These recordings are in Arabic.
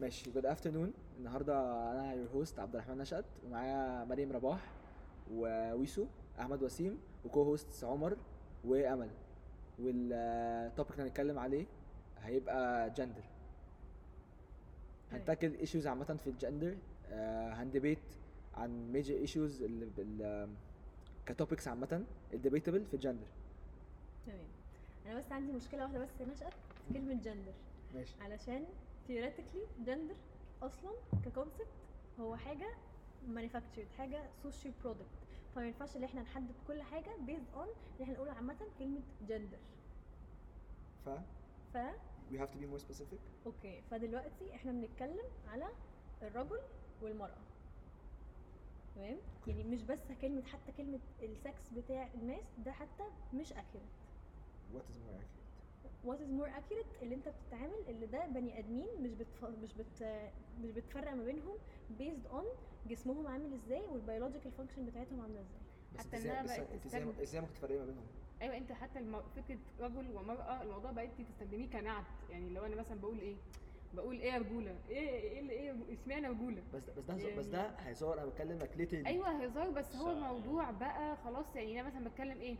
ماشي جود افترنون النهارده انا يور هوست عبد الرحمن نشأت ومعايا مريم رباح وويسو احمد وسيم وكو هوستس عمر وامل والتوبيك اللي هنتكلم عليه هيبقى جندر هنتاكل ايشوز عامه في الجندر هندبيت عن ميجر ايشوز اللي كتوبكس عامه الديبيتبل في الجندر تمام انا بس عندي مشكله واحده بس نشأت في كلمه جندر ماشي علشان theoretically جندر اصلا ككونسبت هو حاجه manufactured حاجه social product فما ينفعش ان احنا نحدد كل حاجه based on ان احنا نقول عامه كلمه جندر ف ف we have to be more specific اوكي فدلوقتي احنا بنتكلم على الرجل والمراه تمام يعني مش بس كلمه حتى كلمه السكس بتاع الناس ده حتى مش accurate what is more accurate وات از مور اكيوريت اللي انت بتتعامل اللي ده بني ادمين مش بتف... مش بت... مش بتفرق ما بينهم بيزد اون جسمهم عامل ازاي والبيولوجيكال فانكشن بتاعتهم عامله ازاي بس حتى انت ازاي انها بس بقت انت ازاي تستخدم- ازاي ممكن تفرقي ما بينهم ايوه انت حتى الم... فكره رجل ومراه الموضوع بقيتي تستخدميه كنعت يعني لو انا مثلا بقول ايه بقول ايه يا رجوله ايه ايه اللي ايه رجو- اشمعنى رجوله بس ده بس ده يعني بس ده هيصور انا بتكلم لك ليتل أيوة، ايوه هزار بس هو صح. الموضوع بقى خلاص يعني انا مثلا بتكلم ايه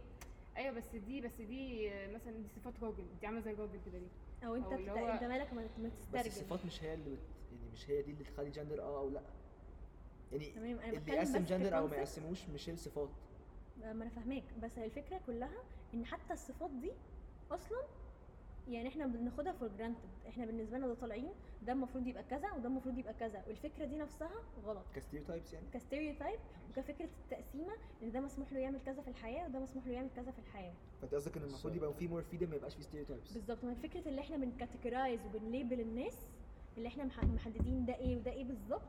ايوه بس دي بس دي آه، مثلا دي صفات راجل دي عامله زي الراجل كده ليه او انت أو اللي بتت... هو- انت مالك ما ما بس تسترجل الصفات مش هي اللي بت... يعني مش هي دي اللي تخلي جندر اه او لا يعني تمام انا اللي بتكلم بس يقسم جندر او ما كconcept. يقسموش مش هي الصفات ما انا فاهماك بس هي الفكره كلها ان حتى الصفات دي اصلا يعني احنا بناخدها فور جرانتد احنا بالنسبه لنا ده طالعين ده المفروض يبقى كذا وده المفروض يبقى كذا والفكره دي نفسها غلط كستيريوتايبس يعني كستيريوتايب وكفكره التقسيمه ان ده مسموح له يعمل كذا في الحياه وده مسموح له يعمل كذا في الحياه فانت قصدك ان المفروض بالظبط. يبقى في مور فريدم ما يبقاش في ستيريوتايبس بالظبط ما هي فكره اللي احنا بنكاتيجرايز وبنليبل الناس اللي احنا مح- محددين ده ايه وده ايه بالظبط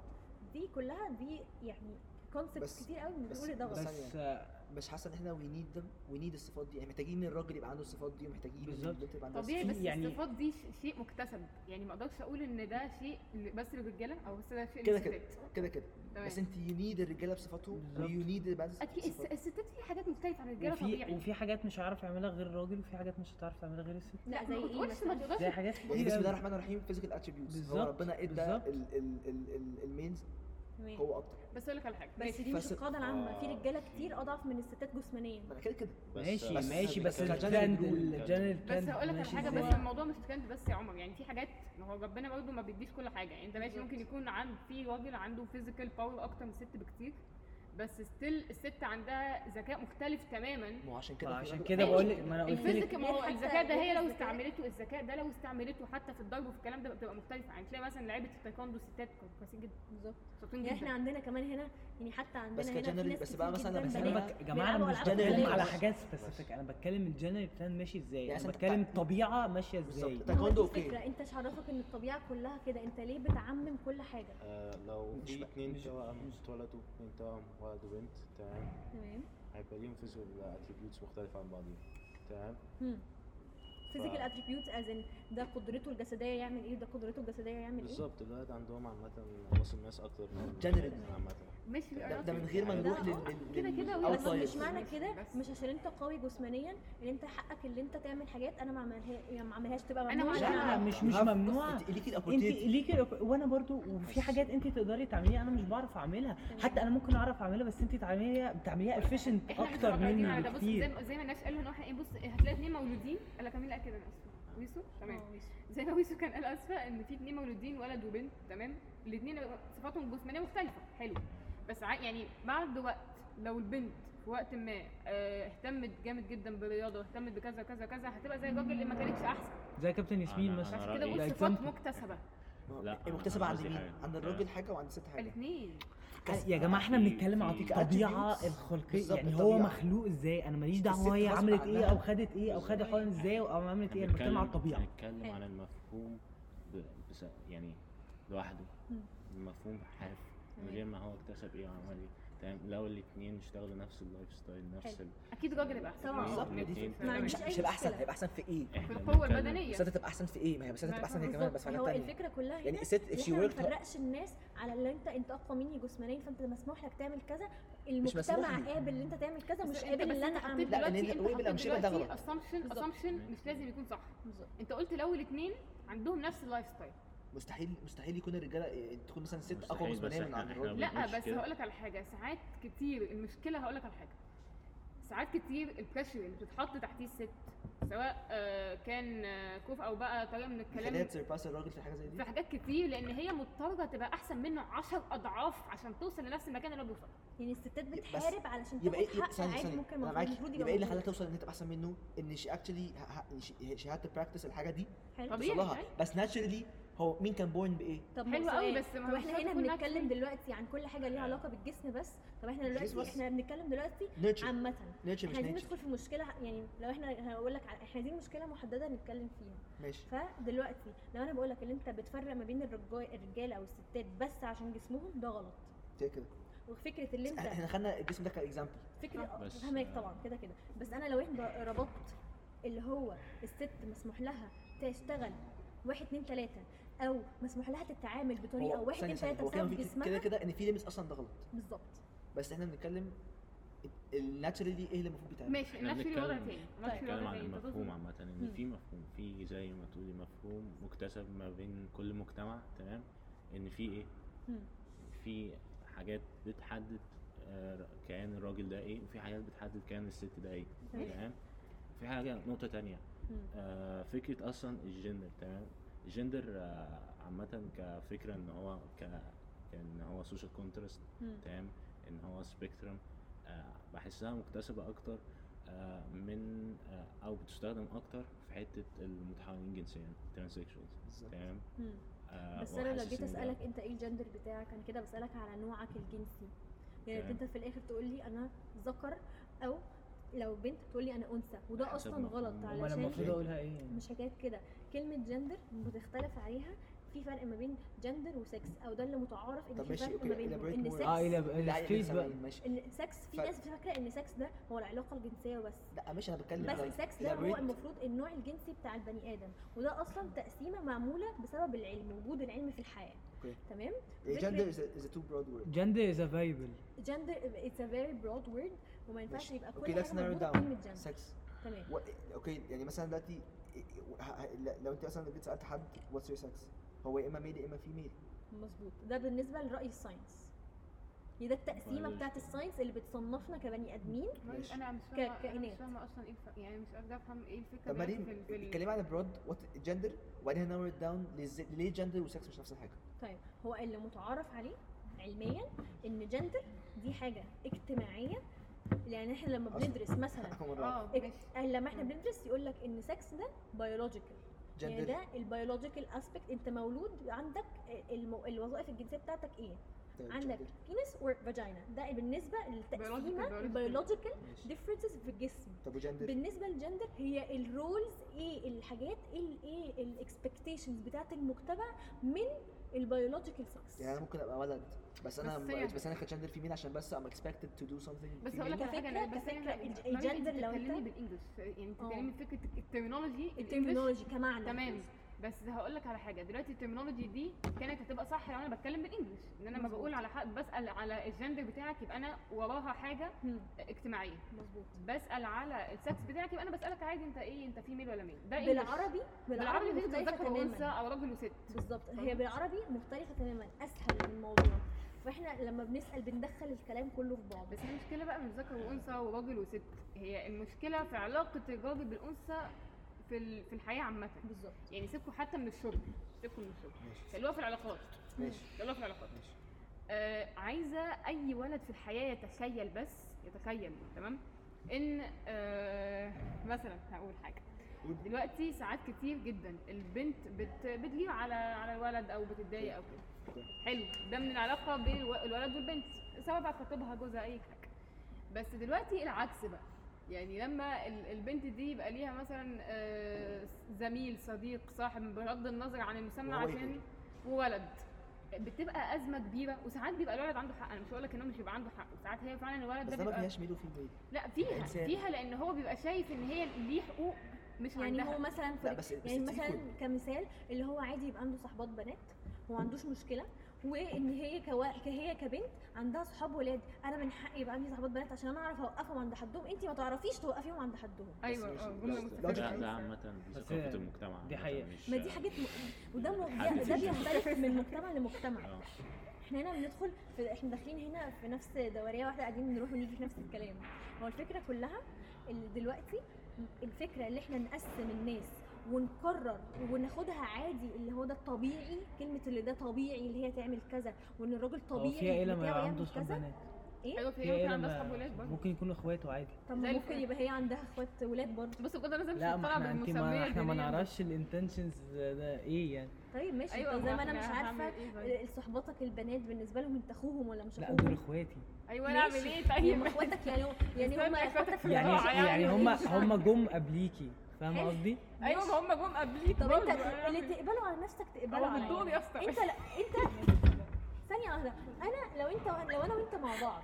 دي كلها دي يعني كونسبت بس- كتير قوي بس- بنقول ده بس غلط بس مش حاسه ان احنا وي نيد ذم وي نيد الصفات دي يعني محتاجين الراجل يبقى عنده الصفات دي ومحتاجين بالظبط. البنت يبقى عندها طبيعي في بس يعني- الصفات دي ش- شيء مكتسب يعني ما اقدرش اقول ان ده شيء ل- بس للرجاله او بس ده شيء كده للستات. كده كده كده تمام. بس انت يو نيد الرجاله بصفاتهم بالظبط. ويو نيد البنات اكيد الس- بصفاتهم الستات في حاجات مختلفه عن الرجاله وفي طبيعي وفي حاجات مش هعرف اعملها غير الراجل وفي حاجات مش هتعرف تعملها غير الست لا زي ما ايه تقولش ما مثلا تقدرش زي حاجات يعني كتير بسم الله أوي. الرحمن الرحيم فيزيكال اتريبيوتس هو بالظبط. ربنا ادى بالظبط. المينز تمام. هو اكتر بس اقول لك على حاجه بس ماشي. دي مش فس- القاعده العامه في آه. رجاله كتير اضعف من الستات جسمانيا ما انا كده كده بس- ماشي بس- ماشي بس- بس الترند بس- الجنرال بس ترند هقول لك على ماشي حاجه إزاي. بس الموضوع مش ترند بس يا عمر يعني في حاجات ما هو ربنا برضه ما بيديش كل حاجه يعني انت ماشي بالظبط. ممكن يكون عند في راجل عنده فيزيكال باور اكتر من الست بكتير بس ستيل الست عندها ذكاء مختلف تماما ما هو عشان كده في فعشان راجل- كده ماشي. بقول لك ما انا قلت لك الفيزيك ما هو حتى الذكاء ده هي لو الذكاء- استعملته الذكاء ده لو استعملته حتى في الضرب وفي الكلام ده بتبقى مختلفه يعني تلاقي مثلا لعيبه التايكوندو الستات كانوا كويسين جدا بالظبط شاطرين يعني احنا جدا عندنا كمان هنا يعني حتى عندنا بس هنا في كجنرال- ناس بس كتير بقى مثلا جداً أنا بس بكلمك انا بنات بك- يا جماعه انا بيلعبوا مش ألعاب بتكلم قتالية. على حاجات سبيسيفيك انا بتكلم الجنرال ترند ماشي ازاي يعني انا أنت بتكلم بتاع- طبيعه ماشيه بالظبط. ازاي ده هو دي كوندو أوكي. الفكره انت مش عرفك ان الطبيعه كلها كده انت ليه بتعمم كل حاجه آه، لو مش في بقى- اتنين مش- توأم مش- اتولدوا اتنين توأم ولد وبنت تمام تمام هيبقى ليهم فيزيكال اتريبيوتس مختلفة عن بعضيهم تمام فيزيكال اتريبيوت از ان ده قدرته الجسديه يعمل ايه وده قدرته الجسديه يعمل ايه بالظبط الولد عندهم عامة راس الناس أكتر من يعني Generally. عامة ماشي ده ده من غير ما يعني نروح ده- لل لل- كده كده لل- أو بس طيب. مش outliers. معنى كده بس. مش عشان انت قوي جسمانيا ان انت حقك ان انت تعمل حاجات انا ما عملها يعني ما عملهاش تبقى أنا ممنوع مع إن ده. لا أعملها. مش مش ممنوع انت ليكي انت الاوبورتيونتي ليكي الأوب- وانا برضو وفي حاجات انت تقدري تعمليها انا مش بعرف اعملها طيب. حتى انا ممكن اعرف اعملها بس انت تعمليها بتعمليها افيشنت احنا مش اكتر متعودين مني على ده. بص زي بكتير ما- زي ما الناس قالوا ان احنا ايه بص هتلاقي اتنين مولودين قال لك مين اللي قال كده انا اسفه ويسو تمام آه، ماشي. زي ما ويسو كان قال اسفه ان في اتنين مولودين ولد وبنت تمام الاتنين صفاتهم الجسمانيه مختلفه حلو بس ع- يعني بعد وقت لو البنت في وقت ما آه، اهتمت جامد جدا بالرياضه واهتمت بكذا كذا كذا هتبقى زي الراجل اللي ما كانتش احسن زي كابتن ياسمين بس مثلا عشان رأيي- كده بقول ده صفات example. مكتسبه لا، هي مكتسبة أنا عند قصدي مين؟ حاجة. عند الراجل حاجة وعند الست حاجة الاثنين يا جماعه احنا بنتكلم على في الطبيعه attributes. الخلقيه بالظبط، يعني هو الطبيعة. مخلوق ازاي انا ماليش الست دعوه هي غصب عملت ايه عنها. او خدت ايه او خدت حقن ازاي او عملت ايه انا بتكلم على الطبيعه حلو. بنتكلم عن المفهوم ب... بس يعني لوحده مم. المفهوم حاف من تمام. غير ما هو اكتسب ايه وعمل ايه تمام لو الاثنين اشتغلوا نفس اللايف ستايل نفس حلو. ال... اكيد الراجل يبقى أه. احسن طبعا. بالظبط نعم. الاتنين دي ما فكرة. عنديش مش أي مش هيبقى احسن مشكلة. هيبقى احسن في ايه؟ احنا في القوه بنتكلم- البدنيه الست تبقى احسن في ايه؟ ما هي بس الست تبقى احسن هي كمان بس في حاجات هو تانية الفكره كلها هنا يعني الست if she احنا ما worked نفرقش الناس على اللي انت انت اقوى مني جسمانيا فانت مسموح لك تعمل كذا مسموح المجتمع لي. قابل ان انت تعمل كذا بس مش انت قابل بس ان انا انت اعمل حطيت لا، لأن دلوقتي- ده- ويبقى انت الأمشبة حطيت ده دلوقتي غلط. assumption بالظبط. assumption مش لازم يكون صح بالظبط. انت قلت لو الاثنين عندهم نفس اللايف ستايل مستحيل مستحيل يكون الرجاله تكون مثلا ست اقوى مستحيل، بس جسمانيا من إحنا- عند إحنا الراجل بن- لا بنقولش بس كده. هقول لك على حاجه ساعات كتير المشكله هقول لك على حاجه ساعات كتير البريشر اللي بتتحط تحتيه الست سواء آه، كان آه، كوف او بقى طريقه من خليها الكلام تسرباس الراجل في حاجه زي دي في حاجات كتير لان هي مضطره تبقى احسن منه 10 اضعاف عشان توصل لنفس المكان اللي هو بيوصل يعني الستات بتحارب علشان يبقى تاخد ايه حق ثانيه عادي ثانيه ممكن انا المفروض معاك المفروض يبقى يبقى ايه اللي موجود. خلاها توصل ان هي تبقى احسن منه ان شي اكشلي شي هاد براكتس الحاجه دي حلو. طبيعي. توصلها أيوة. بس ناتشرالي هو مين كان بورن بايه؟ طب ما هو حلو قوي، سؤال. بس ما طب هو احنا شرط هنا يكون معاك بنتكلم فلوس. دلوقتي عن كل حاجه ليها علاقه بالجسم بس طب احنا دلوقتي آه. بس. احنا بنتكلم دلوقتي نيتشر عامه نيتشر مش احنا عايزين نيتشر ندخل في مشكله يعني لو احنا هقول لك احنا عايزين مشكله محدده نتكلم فيها ماشي فدلوقتي لو انا بقول لك ان انت بتفرق ما بين الرجال الرجاله او الستات بس عشان جسمهم ده غلط كده كده وفكره اللي انت احنا خدنا الجسم ده كاكزامبل آه. فكره بس- فهمك طبعا كده كده بس انا لو احنا ربطت اللي هو الست مسموح لها تشتغل واحد اتنين تلاته او مسموح لها تتعامل بطريقه واحد اتنين تلاته بسبب كده جسمها كده ان في ليميتس اصلا ده غلط بالظبط بس احنا بنتكلم الناتشرالي ايه اللي المفروض بيتعمل ماشي احنا النفس في وضع بنتكلم- تاني النفس في بنتكلم وضع عن تاني أنت المفهوم تقصد- عامة مم. ان في مفهوم في زي ما تقولي مفهوم مكتسب ما بين كل مجتمع تمام ان في ايه مم. في حاجات بتحدد آه، كيان الراجل ده ايه وفي حاجات بتحدد كيان الست ده ايه ماشي. تمام في حاجة نقطة تانية مم. آه، فكرة أصلا الجندر تمام الجندر آه، عامة كفكرة إن هو ك إن هو سوشيال كونترست مم. تمام إن هو سبيكترم بحسها مكتسبة أكتر آه، من آه، أو بتستخدم أكتر في حتة المتحولين جنسيا ترانسكشوالز بالظبط. تمام مم. آه، بس انا لو وحاسس جيت إن ده- اسالك انت ايه الجندر بتاعك انا كده بسالك على نوعك الجنسي يعني تمام. انت في الاخر تقول لي انا ذكر او لو بنت تقول لي انا انثى وده حسب اصلا مفهوم. غلط أمال ما انا علشان المفروض اقولها ايه يعني؟ مش حكايه كده كلمه جندر بتختلف عليها في فرق ما بين جندر وسكس او ده اللي متعارف ان طب في ماشي، فرق أوكي، ما بينهم elaborate ان more. اه آه، سكس الى الستريت بقى ماشي ان سكس في فرق. ناس فاكره ان سكس ده هو العلاقه الجنسيه وبس لا ماشي انا بتكلم بس على- السكس ده هو elaborate. المفروض النوع الجنسي بتاع البني ادم وده اصلا تقسيمه معموله بسبب العلم وجود العلم في الحياه أوكي. تمام Yeah, فكرة- gender is a- is a too broad word. جندر از افايبل جندر اتس ا فيري برود وورد وما ينفعش ماشي. يبقى Okay, كل let's حاجه narrow مربوطه down. بكلمه جندر Sex. تمام و- اوكي يعني مثلا دلوقتي ه- ه- لو انت مثلا جيت سالت حد what's your sex هو يا اما ميل يا اما فيميل مظبوط ده بالنسبه لراي الساينس يعني ده التقسيمه معلش. بتاعت الساينس اللي بتصنفنا كبني ادمين ماشي. انا مش ك- فاهمه أنا مش كائنات. فاهمه اصلا ايه الف- يعني مش قادره افهم ايه الفكره طب ما دلوقتي ليه في ال- في ال- اتكلمي عن البرود what gender وبعدين هنور داون ليه جندر وسكس مش نفس الحاجه طيب هو اللي متعارف عليه علميا ان جندر دي حاجه اجتماعيه يعني احنا لما أصلاً. بندرس مثلا أول مرة أعرف. اه ماشي لما احنا مم. بندرس يقول لك ان سكس ده بيولوجيكال يعني gender طيب ده البيولوجيكال اسبكت انت مولود عندك المو... الوظائف الجنسيه بتاعتك ايه؟ طيب عندك gender. بينس اور فاجينا ده بالنسبه Biological- للتقسيمه biological. البيولوجيكال ماشي. ديفرنسز في الجسم طب وجندر بالنسبه للجندر هي الرولز ايه الحاجات ال- ايه الاكسبكتيشنز بتاعت المجتمع من البيولوجيكال سكس يعني انا ممكن ابقى ولد بس انا بس م- يعني- بس انا كجندر فيميل عشان بس I'm expected to do something إيه؟ بس female. هقول لك على حاجه كفكرة- أنا- بس كفكرة أنا- الج- أنا مش الجندر لو بتتكلمي أنت- بالانجلش يعني آه. بتتكلمي فكره الترمينولوجي الإنجلش الترمينولوجي كمعنى تمام بس هقول لك على حاجه دلوقتي الترمينولوجي دي كانت هتبقى صح لو انا بتكلم بالانجلش ان انا لما مظبوط. بقول على حد بسال على الجندر بتاعك يبقى انا وراها حاجه مم، اجتماعيه مظبوط بسال على السكس بتاعك يبقى انا بسالك عادي انت ايه انت فيميل ولا ميل ده إنجلش. بالعربي بالعربي بالعربي دي بتبقى مختلفه ذكر وانثى تماما او راجل وست بالظبط هي فاهمة؟ بالعربي مختلفه تماما اسهل الموضوع فاحنا لما بنسال بندخل الكلام كله في بعض بس هي المشكله بقى مش ذكر وانثى وراجل وست هي المشكله في علاقه الراجل بالانثى في ال- في الحياه عامه بالظبط يعني سيبكوا حتى من الشغل سيبكوا من الشغل خلوها في العلاقات ماشي خلوها في العلاقات ماشي. آه عايزه اي ولد في الحياه يتخيل بس يتخيل تمام ان آه مثلا هقول حاجه قول. دلوقتي ساعات كتير جدا البنت بت بتغير على على الولد او بتتضايق او كده حلو ده من العلاقه بين الو- الولد والبنت سواء بقى خطيبها جوزها اي حاجه بس دلوقتي العكس بقى يعني لما ال- البنت دي يبقى ليها مثلا آه، زميل صديق صاحب بغض النظر عن المسمى وهو عشان وولد بتبقى ازمه كبيره وساعات بيبقى الولد عنده حق انا مش هقول لك انه مش بيبقى عنده حق ساعات هي فعلا الولد بس ده ده ما بيبقى فيهاش ميل وفيميل لا فيها إنسان. فيها لان هو بيبقى شايف ان هي ليه حقوق مش يعني هو عندها مثلا في لا، بس- بس يعني تيجي مثلا كل- كمثال اللي هو عادي يبقى عنده صحبات بنات هو ما عندوش مشكله وان هي كوا... هي كبنت عندها صحاب ولاد انا من حقي يبقى عندي صحبات بنات عشان انا اعرف اوقفهم عند حدهم انت ما تعرفيش توقفيهم عند حدهم ايوه مش- اه بس- جمله لا، ده ده مستفزه عامة دي بس ثقافة هي- المجتمع دي عامة، حقيقة. مش- إيه؟ ما دي حاجات م... وده م... حد ده- ده فينا. بيختلف من مجتمع لمجتمع اه احنا هنا بندخل في احنا داخلين هنا في نفس دوريه واحده قاعدين نروح ونيجي في نفس الكلام هو الفكره كلها ال- دلوقتي الفكره اللي احنا نقسم الناس ونقرر وناخدها عادي اللي هو ده الطبيعي كلمه اللي ده طبيعي اللي هي تعمل كذا وان الراجل هو طبيعي فيها ايه لما بتاعه يبقى عنده يعمل صحاب كذا بنات؟ ايوه في فيها ايه ايه عندها اصحاب لما ولاد برضه ممكن يكونوا اخواته عادي طب زي ما الفل. ممكن يبقى هي عندها اخوات ولاد برضه بس بجد انا زي مش لا ما مقتنعه احنا انت بالمسميه ما احنا ما الدينية دي. نعرفش الانتنشنز ده ايه يعني طيب ماشي أيوة، أيوة زي ما ما انا مش أنا هعمل عارفه إيه طيب؟ ال- صحباتك البنات بالنسبه لهم انت اخوهم ولا مش لا دول اخوهم اخواتي ايوه انا اعمل ماشي. ايه هم طيب اخواتك يعني يعني هم استنى، اخواتك في يعني اه، الواقع يعني يعني هم مش- هم جم قبليكي فاهمه حلو. قصدي؟ ايوه ما هم جم قبليك طب برضه، انت أنا اللي في- تقبله على نفسك تقبله هو على بالدور عينك. يا اسطى انت لا انت ثانيه واحده انا لو انت لو انا وانت مع بعض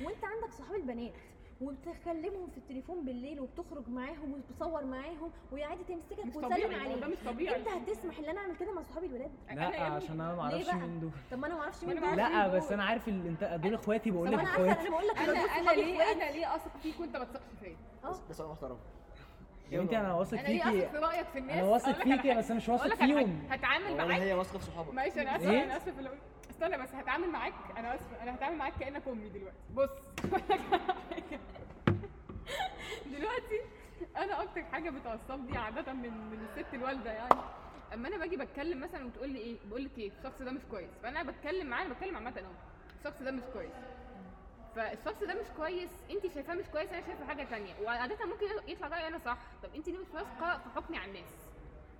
وانت عندك صحاب البنات وبتكلمهم في التليفون بالليل وبتخرج معاهم وبتصور معاهم وهي عادي مش تمسكك وتسلم طبيعي ده عليك مش طبيعي انت هتسمح ان انا اعمل كده مع صحابي الولاد أنا يا لا ابني- عشان انا ما ليه اعرفش بقى؟ مين دول طب ما انا ما اعرفش مين ما أنا بقى لا مين بس دول؟ انا عارف الانت... دول اخواتي طب بقول انا لك عارفه اخواتي انا بقول لك انا دول انا صحابي ليه اخواتي. انا ليه اثق فيك وانت ما تثقش فيا بس بس انا محترم يا بنتي انا يعني واثق انا ليه اثق فيكي في رايك في الناس انا أقول واثق لك على فيكي حاجة. بس انا مش اقول واثق لك على حاجة. فيهم هتعامل ولا معاك هي واثقه في صحابك معلش انا اسف إيه؟ انا اسف لو استنى بس هتعامل معاك انا اسف انا هتعامل معاك كانك امي دلوقتي بص أقول لك على حاجة. دلوقتي انا اكتر حاجه بتعصبني عاده من من الست الوالده يعني اما انا باجي بتكلم مثلا وتقول لي ايه بقول لك ايه الشخص ده مش كويس فانا بتكلم معاه انا بتكلم عامه اهو الشخص ده مش كويس فالشخص ده مش كويس انت شايفاه مش كويس انا شايفه حاجه تانية وعاده ممكن يطلع رايي انا صح طب انت ليه مش واثقه في حكمي على الناس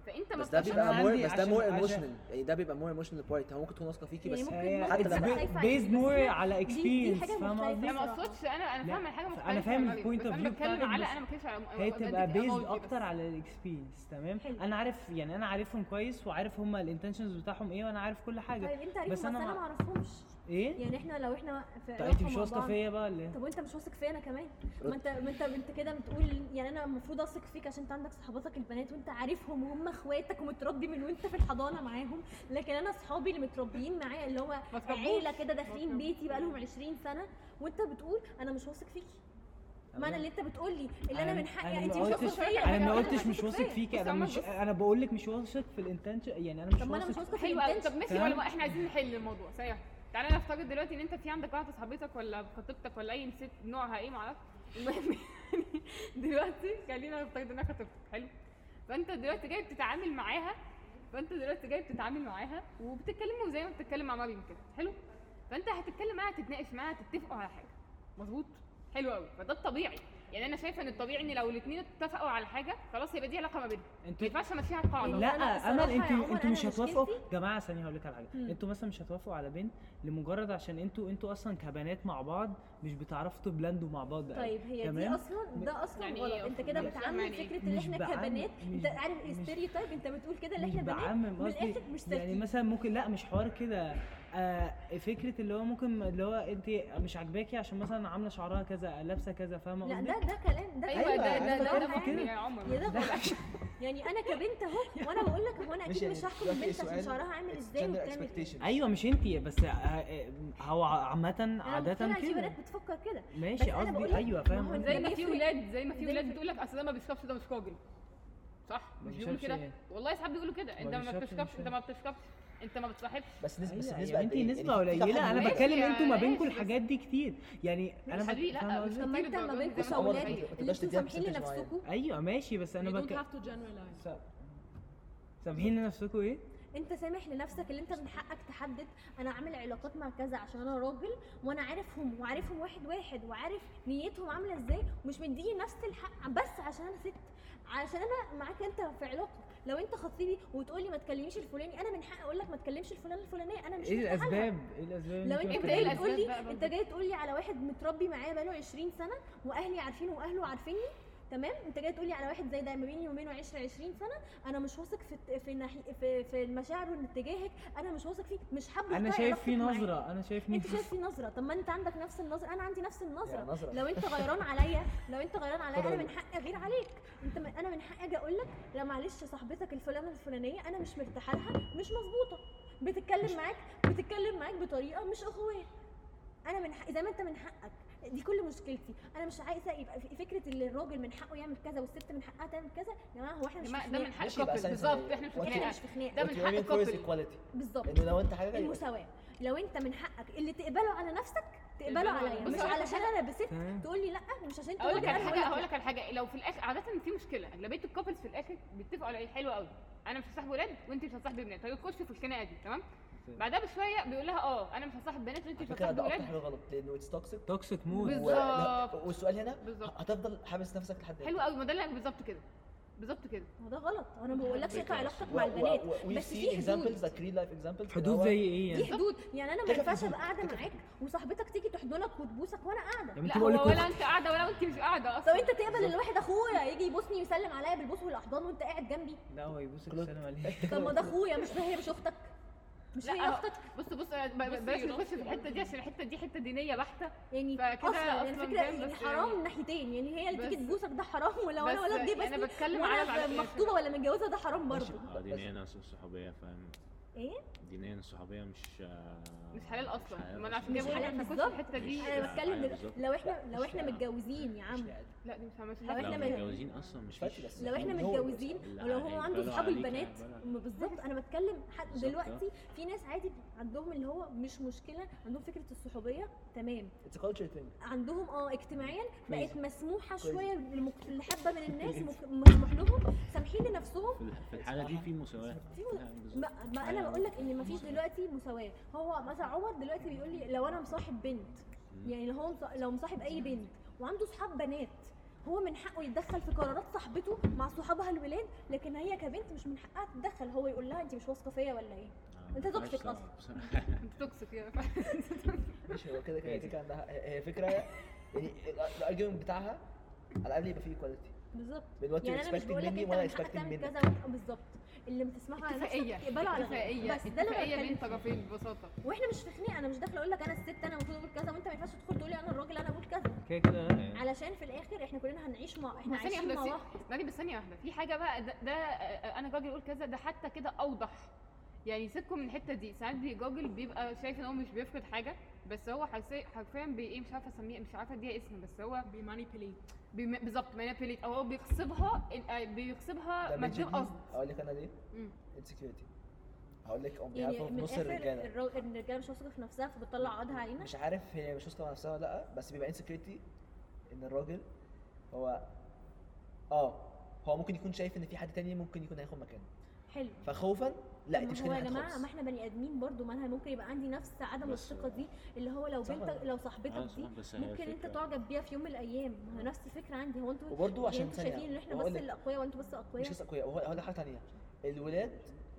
فانت ما بس ده عشان بتثقش- أنا بيبقى مور عندي- بس ده عشان- مور عشان- ايموشنال يعني ده بيبقى مور ايموشنال بارت هو ممكن تكون واثقه فيكي يعني بس ممكن هي- ممكن it's تبقى ba- خايفة عليك، آه، based بس more هي- دي- على دي experience، حاجة فاهمة مختلفة قصدي؟ انا ما الصراحة. اقصدش انا انا لا، فاهمه حاجه مختلفه أنا فاهم عن رأيك، الpoint بس of انا view بتكلم بتاعتك، على بس انا ما بتكلمش على هي أنا تبقى بديك بيزد analogy بس. اكتر على الاكسبيرينس تمام حلو. انا عارف يعني انا عارفهم كويس وعارف هما الانتنشنز بتاعهم ايه وانا عارف كل حاجه طيب انت عارفهم بس أنا انا ما- ما اعرفهمش ايه يعني احنا لو احنا في طب علاقة انت طيب، مش مع واثقه بعض- فيا بقى ولا إيه؟ طب وانت مش واثق فيا انا كمان ما انت ما انت انت كده بتقول يعني انا المفروض اثق فيك عشان انت عندك صحباتك البنات وانت عارفهم وهم اخواتك ومتربي من وانت في الحضانه معاهم لكن انا اصحابي اللي متربيين معايا اللي هو ما تربوش. عيله كده داخلين ما بيتي بقالهم 20 سنه وانت بتقول انا مش واثق فيكي معنى اللي انت بتقول لي اللي انا أنا- من حقي أنا انت ما مش قلتش- واثق فيا انا أنا ما مش قلتش مش واثق فيا. فيك بس انا عمر مش بص. انا بقول لك مش واثق في الانتنشن يعني انا مش طب ما انا مش واثق واثقه في حلو قوي الانتنشن طب ماشي تمام. ولا احنا عايزين نحل الموضوع سريع تعالى نفترض دلوقتي ان انت في عندك واحده صاحبتك ولا خطيبتك ولا اي ست نوعها ايه معرفش المهم يعني دلوقتي خلينا نفترض انها خطيبتك حلو فانت دلوقتي جاي بتتعامل معاها فانت دلوقتي جاي بتتعامل معاها وبتتكلموا زي ما بتتكلم مع مريم كده حلو فانت هتتكلم معاها تتناقش معاها تتفقوا على حاجه مظبوط حلو قوي فده الطبيعي يعني انا شايفه ان الطبيعي ان لو الاثنين اتفقوا على حاجه خلاص يبقى دي علاقه ما بينهم ما انتوا ينفعش امشيها القاعده لا، أنا لا امل الصراحة يا انتوا عمر، انتوا أنا مش هتوافقوا مشكلتي- جماعه ثانيه هقول لك على حاجه مم. انتوا مثلا مش هتوافقوا على بنت لمجرد عشان انتوا انتوا اصلا كبنات مع بعض مش بتعرفوا تبلندوا مع بعض قوي. طيب هي دي تمام؟ اصلا ده اصلا يعني غلط إيه انت أصلاً؟ كده مش بتعمم يعني إيه؟ فكره ان مش احنا بعمم- كبنات انت مش- عارف مش- تايب انت بتقول كده ان مش احنا بنات بعمم من قصدي الآخر مش يعني سالكين. مثلا ممكن لا مش حوار كده آه فكره اللي هو ممكن اللي هو انت مش عاجباكي عشان مثلا عامله شعرها كذا لابسه كذا فاهمه لا قصدي؟ ده ده كلام ده ايوه ده ده أنا ده بتكلم ده كده. يا عمر يا ده غلط يعني انا كبنت اهو وانا بقول لك هو انا مش اكيد مش يعني- هحكم ده في البنت عشان سؤال شعرها عامل it's ازاي gender وبتعمل ايه expectations. ايوه مش انت بس آه، هو عامه انا عاده مقتنعة في كده بنات بتفكر كده بس ماشي أنا بقول لك قصدي ايوه ما هو فاهم زي ده ما في بيفرق. ولاد زي ما في ده ولاد بيفرق. بتقول لك اصل ده ما بيشربش ده مش راجل صح ما مش بيقولوا كده بيشربش إيه؟ والله ساعات بيقولوا كده انت ما بيشربش بتشربش انت مش- ما بتشربش انت ما بتصاحبش بس نسبه بس أيوة، نسبه يعني قد انت إيه؟ نسبه يعني في قليله تحمل انا بقى. ماشي بتكلم يا- انتوا ما ماشي بينكم بس- الحاجات دي كتير يعني انا يا حبيبي فاهمة لا مش قصدي؟ طب ما كتير انت ما الدرجات دي بينكم زي ما أنت صورت. اولاد متخيل. اللي تقدرش انتوا تديها سامحين percentage معين. لنفسكم ايوه ماشي بس انا You don't بتكلم have to generalize. س- سامحين لنفسكم ايه؟ انت سامح لنفسك اللي انت من حقك تحدد انا عامل علاقات مع كذا عشان انا راجل وانا عارفهم وعارفهم واحد واحد وعارف نيتهم عامله ازاي ومش مديني نفس الحق بس عشان انا ست عشان انا معاك انت في علاقه لو انت خطيبي وتقولي ما تكلميش الفلاني انا من حقي اقول لك ما تكلمش الفلانه الفلانيه انا مش ايه مستحقها. الاسباب؟ ايه الاسباب؟ لو إيه انتوا انت انت بتتكلموا؟ ايه جاي الاسباب تقول لي بقى انت برضه؟ جاي تقول لي على واحد متربي معايا بقاله 20 سنه واهلي عارفينه واهله عارفيني تمام انت جاي تقول لي على واحد زي ده ما بيني وبينه 10 20 سنه انا مش واثق في في ناحي في, في مشاعره اللي اتجاهك انا مش واثق فيك مش حابه انا أقطع شايف علاقتك في معاه. نظره انا شايف انت نظره شايف في نظره طب ما انت عندك نفس النظره انا عندي نفس يعني النظره نظره لو انت غيران عليا لو انت غيران عليا انا خد من حقي اغير عليك انت من انا من حقي اجي اقول لك لا معلش صاحبتك الفلانه الفلانيه انا مش مرتاحه لها مش مظبوطه بتتكلم معاك بتتكلم معاك بطريقه مش اخويه انا من حق زي ما انت من حقك دي كل مشكلتي انا مش عايزه يبقى في- فكره ان الراجل من حقه يعمل كذا والست من حقها تعمل كذا يا جماعه هو احنا مش في ده خناقه من حق ماشي، يبقى الكابل ساينس بالظبط عليا. احنا مش وأنت- احنا بنتكلم. مش في خناقه ده What من you حق aiming for is الكابل. equality. بالظبط ان لو انت حاجه المساواه لو انت من حقك اللي تقبله على نفسك تقبله تقبله عليا على- مش بص، أقول لك علشان انا بست فاهم؟ تقول لي لا مش عشان اقول لك على أنا حاجه لأ. اقول لك على حاجه لو في الاخر عاده في مشكله اغلبيه الكابلز في الاخر بيتفقوا على ايه حلو قوي انا مش هصاحب ولاد وانت مش هتصاحبي بنات فيخشوا في الخناقه دي تمام بعدها بشويه بيقول لها اه انا مش هصاحب بنات وانت مش فكره هتصاحبي ده اكتر ولاد حاجه غلط لانه اتس توكسيك توكسيك مود بالظبط. والسؤال هنا بالظبط. هتفضل حابس نفسك لحد حلو قوي ما ده اللي أنا- بالظبط كده بالظبط كده ما ده غلط انا ما بقولكش اقطع علاقتك مع البنات وي بس سي في حدود اكزامبلز لايك ريل لايف اكزامبلز حدود زي ايه في يعني؟ حدود يعني انا ما كده في ينفعش حدود، ابقى قاعده كده في معاك وصاحبتك تيجي تحضنك وتبوسك وانا قاعده يعني لا انت هو بقول لك ولا انت قاعده ولا انت مش طب قاعده اصلا انت تقبل ان واحد اخويا يجي يبوسني ويسلم عليا بالبوس والاحضان وانت قاعد جنبي لا هو يبوسك السلام عليكم طب ما ده اخويا مش هي مش اختك مش لا، أه، هي أهو. اختك بص بص أنا ب- ب- بلاش نخش في الحته دي عشان الحته دي حته دينيه بحته يعني فكده اصلا يعني أصلاً الفكره فاهم، يعني بس حرام يعني- من ناحيتين يعني هي اللي تيجي بس- تبوسك ده حرام ولو انا بس ولا جه يعني أنا بس بتكلم على العلاقات. مخطوبه ولا متجوزه ده حرام برضه اه دينيا ناس الصحوبيه فاهم ايه؟ دينيا الصحوبيه مش آه، مش حلال اصلا ما انا أصلاً. عشان كده آه، مش بقول لك حلال ما نخش في بالظبط. الحته دي انا بتكلم أيوة دل- بالظبط. لو احنا لو مش احنا لا. متجوزين يا عم لا دي مش عملت لو لو احنا ما- متجوزين اصلا مش مش فاكر فيش- بس لو احنا يعني هو- متجوزين لا، ولو هو هيقبلوا عنده صحاب عليك، البنات يعني. هيقبلوا. ما بالظبط انا بتكلم حد بالظبط، دلوقتي في ناس عادي عندهم اللي هو مش مشكله عندهم فكره الصحوبيه تمام اتس كلتشر ثينج عندهم اه اجتماعيا بقت مسموحه كويس. شويه لمك- لحبه من الناس مك- مسموح لهم سامحين لنفسهم في الح- في الحاله دي في مساواه في لا، بالظبط. ما, ما انا أيوة. بقول لك ان مفيش دلوقتي مساواه هو مثلا عمر دلوقتي بيقول لي لو انا مصاحب بنت مم. يعني لو هو مصا- لو مصاحب اي بنت وعنده صحاب بنات هو من حقه يتدخل في قرارات صاحبته مع صحابها الولاد لكن هي كبنت مش من حقها تتدخل هو يقول لها انت مش واثقه فيا ولا ايه آه، أنت ما توكسيك ينفعش أصلاً. بصراحة. انت توكسيك يعني. يا ماشي هو كده كده هي دي كان عندها هي هي فكره يعني الارجيومنت بتاعها على الاقل يبقى فيه ايكواليتي بالظبط من وات يعني انا مش اكسبكتد بقول لك مني انت وانا من حقك اكسبكتد تعمل منك كذا وأنت- بالظبط اللي بتسمعه على اتفاقيه نفسك تقبله على غيرك اتفاقيه بس ده اللي اتفاقيه انا بين بتكلم فيه. طرفين ببساطه واحنا مش في خناقه انا مش داخله اقول لك انا الست انا المفروض اقول كذا وانت ما ينفعش تدخل تقول لي انا الراجل انا اقول كذا كده كده لا. علشان في الاخر احنا كلنا هنعيش مع احنا ما ثانية عايشين واحدة مع بس- بعض بعدين بس ثانية واحدة في حاجة بقى ده, ده آه، أنا راجل أقول كذا ده حتى كده أوضح يعني سيبكم من الحتة دي ساعات بي- راجل بيبقى شايف إن هو مش بيفقد حاجة بس هو حرفيا حرفيا بي إيه مش عارفة أسميه مش عارفة أديها اسم بس هو بيمانيبيليت بيم- بالظبط مانيبيليت أو هو بيغصبها ال- آه، بيغصبها من غير قصد اقول لك انا ليه مم. انسكيورتي هقول لك اون بيهاف يعني اوف من نص الاخر الرجاله الرو- الرجاله مش واثقه في نفسها فبتطلع عقدها علينا مش عارف هي مش واثقه مع نفسها ولا لا بس بيبقى انسكيورتي ان الراجل هو اه هو ممكن يكون شايف ان في حد تاني ممكن يكون هياخد مكانه حلو فخوفا لا انت مش هو يا كده جماعه ما خالص احنا بني ادمين برضو ما انا ممكن يبقى عندي نفس عدم بس- الثقه دي اللي هو لو صح بنتك ولا؟ لو آه، صاحبتك صح، دي بس هي ممكن انت الفكرة. تعجب بيها في يوم من الايام ما هو نفس الفكره عندي هو انتوا وبرضه يعني عشان انتوا ثانيه شايفين ان احنا وهقول بس لك- اللي اقوياء وانتوا بس اقوياء مش بس اقوياء هو هقول لك حاجه تانيه الولاد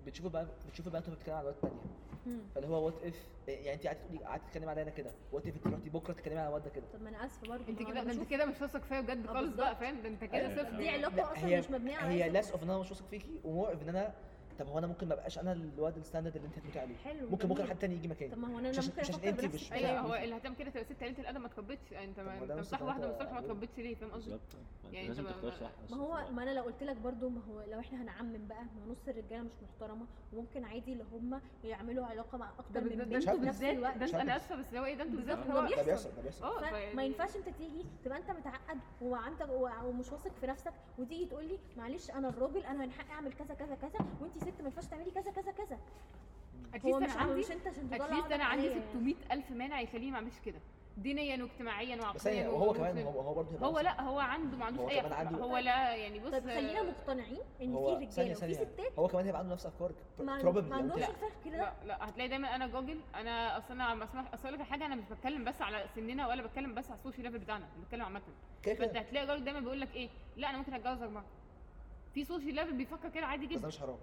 بتشوفوا بقى بتشوفوا بقى انتوا بتتكلموا على الواد التانيه مم. فاللي هو وات اف يعني انت قاعده تقولي قاعده تتكلمي علينا كده وات اف انت رحتي بكره تتكلمي على الواد ده كده طب ما انا اسفه برضو أنت ما هو أنا كده ده أنت بشوف كده مش واثق فيا بجد آه، خالص بالظبط. بقى فاهم ده أنت كده أيوة، صفر دي فاهم. علاقه لا، اصلا مش مبنيه على هي أي less ثقة. of ان انا مش واثق فيكي ومور of ان انا طب هو انا ممكن ما ابقاش انا الواد الستاندرد اللي انت هتموتي عليه حلو ممكن بكره جميل. حد تاني يجي طب مكاني ما هو انا مش أنا عشان- ممكن عشان افكر أنت بنفس مش- أيوه الطريقة. هو اللي هتعمل كده تبقى ست قالت الأدب ما تربيتش يعني أنت طب ما ده ما أنت نفس مصاحب اللي واحدة أنت مصالح ما بقوله. تربيتش ليه فاهم قصدي؟ بالظبط فأنت يعني لازم أنت ما- تختار صح ما أصلاً. هو ما انا لو قلت لك برضو ما هو لو احنا هنعمم بقى ما هو نص الرجاله مش محترمه وممكن عادي اللي هم يعملوا علاقه مع ده اكتر من ده- ده بنت أنتوا شاب. في نفس بالذات الوقت ده أنت- شاب. أنا آسفة بس هو إيه ده أنتوا بالذات بالظبط، هو ده هو بيحصل. بيحصل ده بيحصل اه فما فيعني- ينفعش انت تيجي تبقى انت متعقد وعندك و- ومش واثق في نفسك وتيجي تقول لي معلش انا الراجل انا من حقي اعمل كذا كذا كذا وانت ست ما ينفعش تعملي كذا كذا كذا هو اتليست مش انا عندي مش انت عشان تضل اتليست انا عندي عليا يعني. 600 الف مانع يخليني ما اعملش كده دينيا واجتماعيا بس هي يعني وعقليا وهو ومش- إيه. كمان هو هو برضه هو لا هو عنده ما عندوش هو اي كمان أفكار. عنده- هو لا يعني بص طيب خلينا مقتنعين ان هو يعني في ثانية رجاله وفي ثانية ستات هو كمان هيبقى عنده نفس افكارك ما probably يعني ما عندهمش لا. الفرق ده لا لا هتلاقي دايما انا جوجل انا اصل انا ما اسمح اصل أقول لك حاجه انا مش بتكلم بس على سننا ولا بتكلم بس على السوشيال ليفل بتاعنا انا بتكلم عامه كده فانت كده هتلاقي جوجل دايما بيقول لك ايه لا انا ممكن اتجوز اربعه في سوشيال ليفل بيفكر كده عادي بس ده جدا مش حرام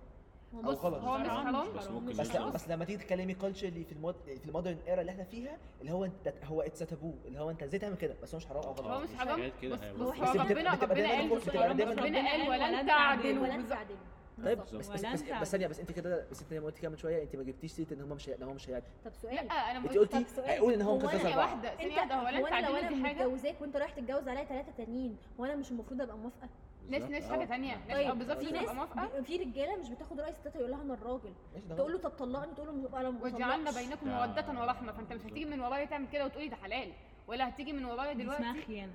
هو أو بص، غلط. هو مش حرام، حرام بس ممكن مش بس حرام. لا يبقى- بس لما تيجي تتكلمي كالتشرلي في المود في المودرن ايرا اللي احنا فيها اللي هو انت هو اتس تابو اللي هو انت ازاي تعمل كده بس هو مش حرام او هو غلط مش مش حرام حاجات كده بص هي بص، بس هو بتبقى- ربنا بتبقى ربنا دايماً قال فوق، مش بتبقى حرام، بس دايماً ربنا قال ولن تعدلوا ولا بالظبط. تعدلوا طيب بالظبط. بس بس ولا بس- أنت بس ثانيه بس انت كده بس انت لما قلتي كده من شويه انت ما جبتيش سيره ان هم مش هي- ان هم مش هيعدوا طب سؤال لا انا ما انت قلتش قلتي سؤال. هيقول ان هو هو ممكن أنا يتجوز ثانيه اربعه واحده ثانيه انت واحده هو هو لن انا لو انا تعدلوا دي حاجه متجوزاك وانت رايح تتجوز عليا ثلاثه تانيين وانا مش المفروض ابقى موافقه ناس بالظبط، ناس آه. حاجه ثانيه ناس طيب اه بالظبط في لازم ناس تبقى موافقه في رجاله مش بتاخد راي ستات يقول لها انا الراجل ماشي ده تقول غلط له طب طلقني تقول له انا ما وجعلنا بطلقش. بينكم ده- موده ورحمه فانت مش هتيجي من ورايا تعمل كده وتقولي ده حلال ولا هتيجي من ورايا دي اسمها دلوقتي خيانه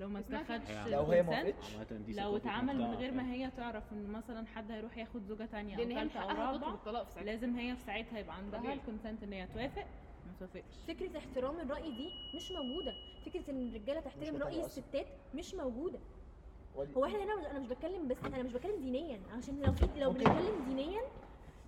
لو ما اسمها اتخدش خيانة. لو هي ما consent، وافقتش عامة دي لو ثقافة اتعمل من مجتمع غير ما فعلا. هي تعرف ان مثلا حد هيروح ياخد زوجه تانية لان او هي من تالتة او حقها تطلب رابعة الطلاق في ساعتها لازم هي في ساعتها يبقى عندها طبيعي. الكونسنت ان هي توافق ما توافقش فكره احترام الراي دي مش موجوده فكره ان الرجاله تحترم مش راي موجودة أصلاً. الستات مش موجوده ولي- هو احنا هنا انا مش بتكلم بس انا مش بتكلم دينيا عشان لو في لو ممكن. بنتكلم دينيا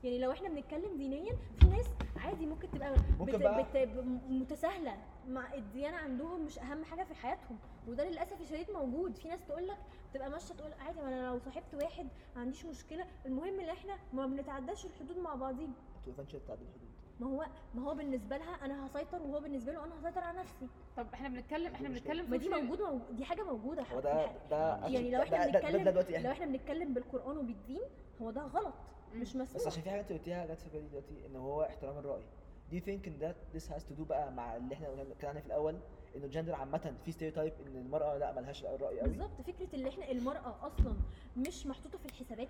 يعني لو احنا بنتكلم دينيا في ناس عادي ممكن تبقى ممكن بقى- بت ب- متساهله مع الديانه عندهم مش اهم حاجه في حياتهم وده للاسف الشديد موجود في ناس تقول لك تبقى ماشيه تقول عادي ما انا لو صاحبت واحد ما عنديش مشكله المهم ان احنا ما بنتعداش الحدود مع بعضينا ما توقفنش تعدي الحدود ما هو ما هو بالنسبه لها انا هسيطر وهو بالنسبه له انا هسيطر على نفسي طب احنا بنتكلم احنا مش بنتكلم ما في دي وسط- موجود موجود دي حاجه موجوده هو ده ده يعني لو ده- احنا ده- ده- بنتكلم- ده دلوقتي يعني. لو احنا احنا بنتكلم بالقران وبالدين هو ده غلط مم. مش مسموح بس عشان في حاجه انت قلتيها جت في بالي دلوقتي ان هو احترام الراي Do you think ان ده this has to do بقى مع اللي احنا قلنا- اتكلمنا عنه في الاول انه الجندر عامه في ستيريوتايب ان المراه لا مالهاش راي قوي بالظبط فكره اللي احنا المراه اصلا مش محطوطه في الحسابات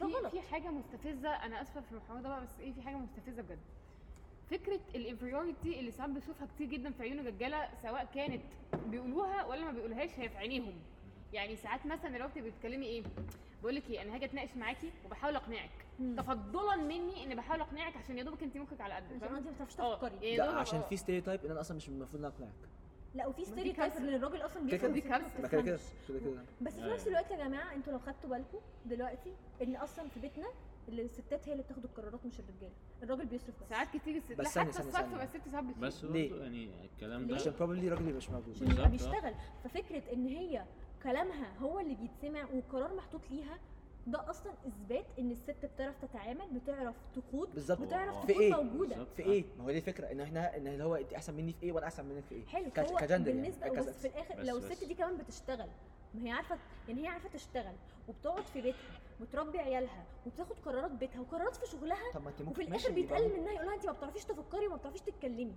ده في غلط في حاجه مستفزه انا اسفه في الحوار ده بقى بس ايه في حاجه مستفزه بجد فكره الانفيريورتي اللي ساعات بشوفها كتير جدا في عيون الرجاله سواء كانت بيقولوها ولا ما بيقولوهاش هي في عينيهم يعني ساعات مثلا دلوقتي بتتكلمي ايه بقول لك ايه انا هاجي اتناقش معاكي وبحاول اقنعك مم. تفضلا مني ان بحاول اقنعك عشان يا دوبك انت مخك على قد عشان انت ما بتعرفيش اه تفكري يعني ده دوبك- عشان اه. في ستيريوتايب ان انا اصلا مش المفروض ان أنا اقنعك لا وفي دي ستيريوتايب كارثة. ان الراجل اصلا كده بيفهم دي بس الست ما كارثة. ده كده كده بتفهمش. كده كده بس في آه. نفس الوقت يا جماعه انتوا لو خدتوا بالكم دلوقتي ان اصلا في بيتنا الستات هي اللي بتاخد القرارات مش الرجاله الراجل بيصرف بس ساعات كتير الست لا بس ثانية، حتى ثانية، الست ثانية. بس الست ساعات بتشيل. بس ليه؟ برضه يعني الكلام ده عشان probably الراجل اللي مش موجود عشان يبقى بالظبط، اه. بيشتغل ففكره ان هي كلامها هو اللي بيتسمع والقرار محطوط ليها ده اصلا اثبات ان الست بتعرف تتعامل بتعرف تقود بالظبط بتعرف هو- تكون في إيه؟ موجوده بالظبط، في اه. ايه؟ ما هو دي الفكره ان احنا ان اللي هو انت احسن مني في ايه وانا احسن منك في ايه؟ حلو ك- هو كجندر يعني، بالنسبه ككذا. بس في الاخر بس- لو بس. الست دي كمان بتشتغل ما هي عارفه يعني هي عارفه تشتغل وبتقعد في بيتها وتربي عيالها وبتاخد قرارات بيتها وقرارات في شغلها طب ما انت وفي ممكن الاخر ماشي يبقى بيتقلل منها يقول لها انت ما بتعرفيش تفكري وما بتعرفيش تتكلمي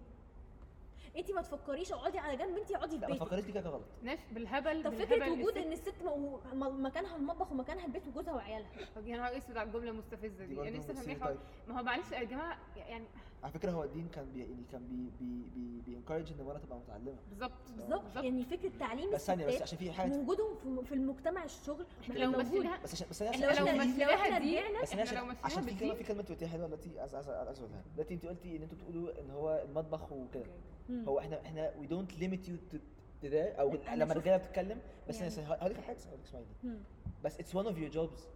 انت ما تفكريش اقعدي على جنب انت اقعدي في لا ما بيتك فكرتش دي كده غلط ناش بالهبل طب بالهبل فكره وجود الست- ان الست مو- م- مكانها المطبخ ومكانها البيت وجوزها وعيالها طب يا نهار اسود على الجمله المستفزه دي يعني دي يعني انا برضه لسه فاهمها stereotype. ما هو معلش يا جماعه يعني على فكره هو الدين كان بي يعني كان بي بي بي بينكرج ان المراه تبقى متعلمه بالظبط بالظبط يعني فكره تعليم بس ثانيه بس الستات عشان في حاجه ووجودهم في- في المجتمع الشغل ما كان لو موجود مشيناها بس عشان بس انا لو احنا احنا لو لو احنا مشيناها دي رجعنا بس انا احنا لو عشان, مشيناها عشان في كلمه بالدين- في كلمه انت قلتيها حلوه دلوقتي عايز عايز عايز اقولها دلوقتي انت قلتي ان انتوا بتقولوا ان هو المطبخ وكده مم. هو احنا احنا وي دونت ليميت يو تو ده او لا، أنا لما شفت- الرجاله بتتكلم بس يعني. انا هقول لك حاجه هقول لك اسمعيني مم. بس اتس ون اوف يور جوبز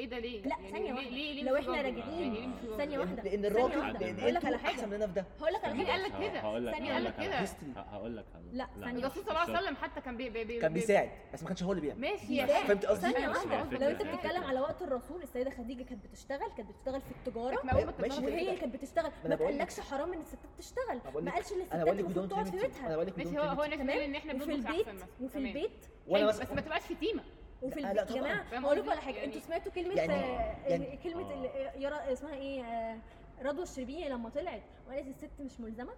ايه ده ليه؟ لا، يعني ثانية ليه- واحدة. ليه ليه لو مش إحنا راجل؟ راجعين، يعني ليه مش راجل؟ ثانية واحدة لان ثانية الراجل واحدة. لان هقول لك على انتوا حاجة. احسن مننا في ده هقول لك على مين حاجه قال لك كده؟ هقول لك ثانية هقول واحدة. لك على- History. ه- هقول لك على- لا، ثانية الرسول صلى الله عليه وسلم حتى كان بي بي إيه، بي كان بي- بيساعد بس ما كانش هو اللي بيعمل ماشي لا، يا فاهم فهمت قصدي؟ ثانية بس هي واحدة فكرة. لو انت هي بتتكلم فكرة. على وقت الرسول السيدة خديجة كانت بتشتغل كانت بتشتغل في التجارة ما هو ماشي. ماشي وهي اللي كده. كانت بتشتغل أنا ما بقول لك- تقولكش حرام ان الستات تشتغل أنا بقول ما لك- قالش ان الستات انا بقول لك we المفروض don't تقعد في limit you. انا بيتها بقول لك we ماشي don't هو هو limit you. ناس تمام؟ بتقول ان احنا وفي بنبص البيت احسن مثلا وفي تمام. البيت وانا حلو، بس بس ما تبقاش شتيمه وفي لا، لا، البيت يا طبعاً. جماعة فاهم هقول لكم قصدي؟ على حاجة يعني- انتوا سمعتوا كلمة يعني- آه، يعني- كلمة ال- آه، يرى اسمها ايه آه، رضوى الشربيني لما طلعت وقالت الست مش ملزمة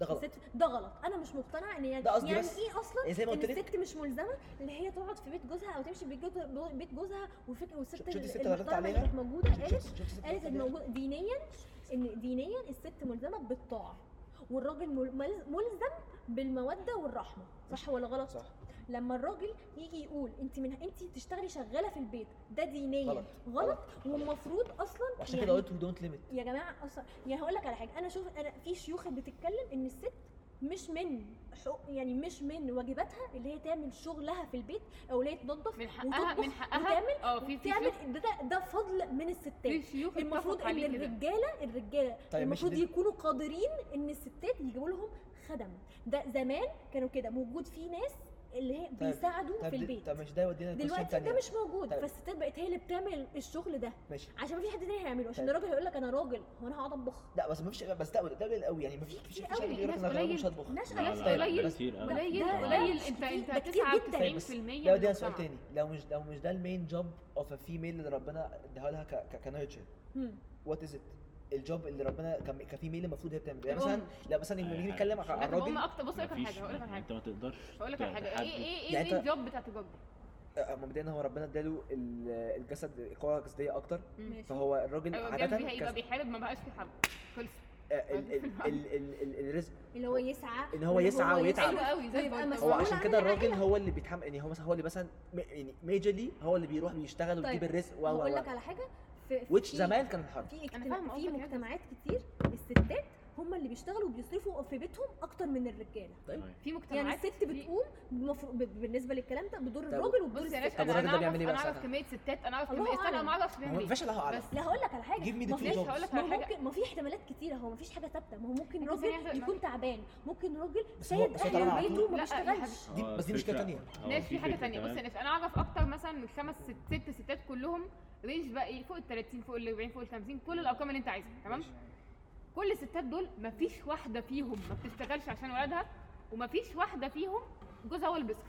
ده غلط الست ده غلط انا مش مقتنعه ان يعني ده قصدي يعني بس. ايه اصلا يعني زي ما ان قلت لك- الست مش ملزمه ان هي تقعد في بيت جوزها او تمشي بيت جوزها, بيت جوزها وفك... والست شفت الست اللي ردت المحترمه اللي عليها؟ كانت موجوده شفت- قالت شفت- شفت الست اللي قالت ان بتتكلم؟ موجود دينيا ان دينيا الست ملزمه بالطاعه والراجل مل- مل- ملزم بالموده والرحمه صح ولا غلط صح لما الراجل يجي يقول انت من انت تشتغلي شغاله في البيت ده دينيا غلط. غلط والمفروض اصلا وعشان كده يعني- قلت we don't limit يا جماعه اصلا يعني هقول لك على حاجه انا شوف انا في شيوخ بتتكلم ان الست مش من حق يعني مش من واجباتها اللي هي تعمل شغلها في البيت او اللي هي تنظف من حقها من وتطبخ حقها وتعمل اه في في شيوخ تعمل ده, ده- ده فضل من في الستات شيوخ المفروض اتفق ان عليه كده. الرجاله الرجاله ماشي، المفروض طيب، دي- يكونوا قادرين ان الستات يجيبوا لهم خدم ده زمان كانوا كده موجود في ناس اللي هي بيساعدوا طب طيب، في دي- البيت طب مش ده يودينا لكويشن دلوقتي تانية ده مش موجود طيب. فالستات بقت هي اللي بتعمل الشغل ده ماشي عشان مفيش حد تاني هيعمله عشان طيب. الراجل هيقول لك انا راجل هو انا هقعد اطبخ لا بس ما فيش بس ده ده قليل قوي يعني ما فيش مفيش كتير حد قوي، بيقول لك ناس انا غلبان قليل. مش هطبخ ناس لا، قليل لا، قليل. كتير قوي. قليل ده- قليل ده انت كتير- انت ده كتير جدا. 99% بس من ده يودينا سؤال المجتمع. تاني لو مش لو مش ده المين جوب اوف ا فيميل اللي ربنا اداها لها كنيرتشر مم. وات از ات الجوب اللي ربنا كم- كفيميل المفروض هي بتعمله يعني مثلا لا مثلا لما أي نيجي حاجة. نتكلم على لا، طب هم الراجل اكتر بص اقول لك على مفيش- حاجه هقول لك على حاجه انت ما تقدرش هقول لك على حاجه ايه تحدد. ايه ايه يعني المين انت- جوب بتاعت الراجل؟ آه، مبدئيا هو ربنا اداله ال- الجسد القوه الجسديه اكتر ماشي فهو الراجل ايوه جنبي عاده هيبقى كس- بيحارب ما بقاش في حرب خلص آه، ال- ال- ال- ال- ال- الرزق اللي هو يسعى أيوة، إن هو يسعى ويتعب. طيب، حلو قوي زي ويبقى برضه. هو مسؤول عشان عن كده الراجل العائلة. هو اللي بيتحمل يعني هو مثلا هو اللي مثلا م- يعني ميجرلي هو اللي بيروح بيشتغل ويجيب طيب، الرزق و و هقول و لك على حاجه في في- which زمان كان الحرب في اجتماع- أنا فاهمة في قصدك يعني. مجتمعات كتير الستات هم اللي بيشتغلوا وبيصرفوا في بيتهم اكتر من الرجاله أيوة. في يعني مجتمعات الست في- بتقوم بمفروض- ب- بالنسبه للكلام ده بدور طب الراجل وبدور بص يا الست باشا طب انا الراجل ده أنا بيعمل اعرف إيه بقى انا اعرف ساعتها؟ كميه ستات انا اعرف الله كميه استنى أعلم. انا ما اعرفش ما هو بيعمل ايه مفيش الله اعلم بس لا هقول لك على حاجه Give me the ما two فيش- jobs. هقول لك ما على هو حاجه ممكن ما في احتمالات كتيره هو ما فيش حاجه ثابته ما هو ممكن ممكن راجل يعني- يكون تعبان ممكن راجل بس هو- شايل بس هو طلع اهل على بيته طول. وما لا، يا حبيبي. بيشتغلش دي- بس دي مشكلة تانية. ناس في حاجه ثانيه بص يا ناس انا اعرف اكتر مثلا من خمس ست ست ستات كلهم رينج بقى ايه فوق ال 30 فوق ال 40 فوق ال 50 كل الارقام اللي انت عايزها تمام كل الستات دول مفيش واحده فيهم ما بتشتغلش عشان ولادها ومفيش واحده فيهم جوزها هو اللي بيصرف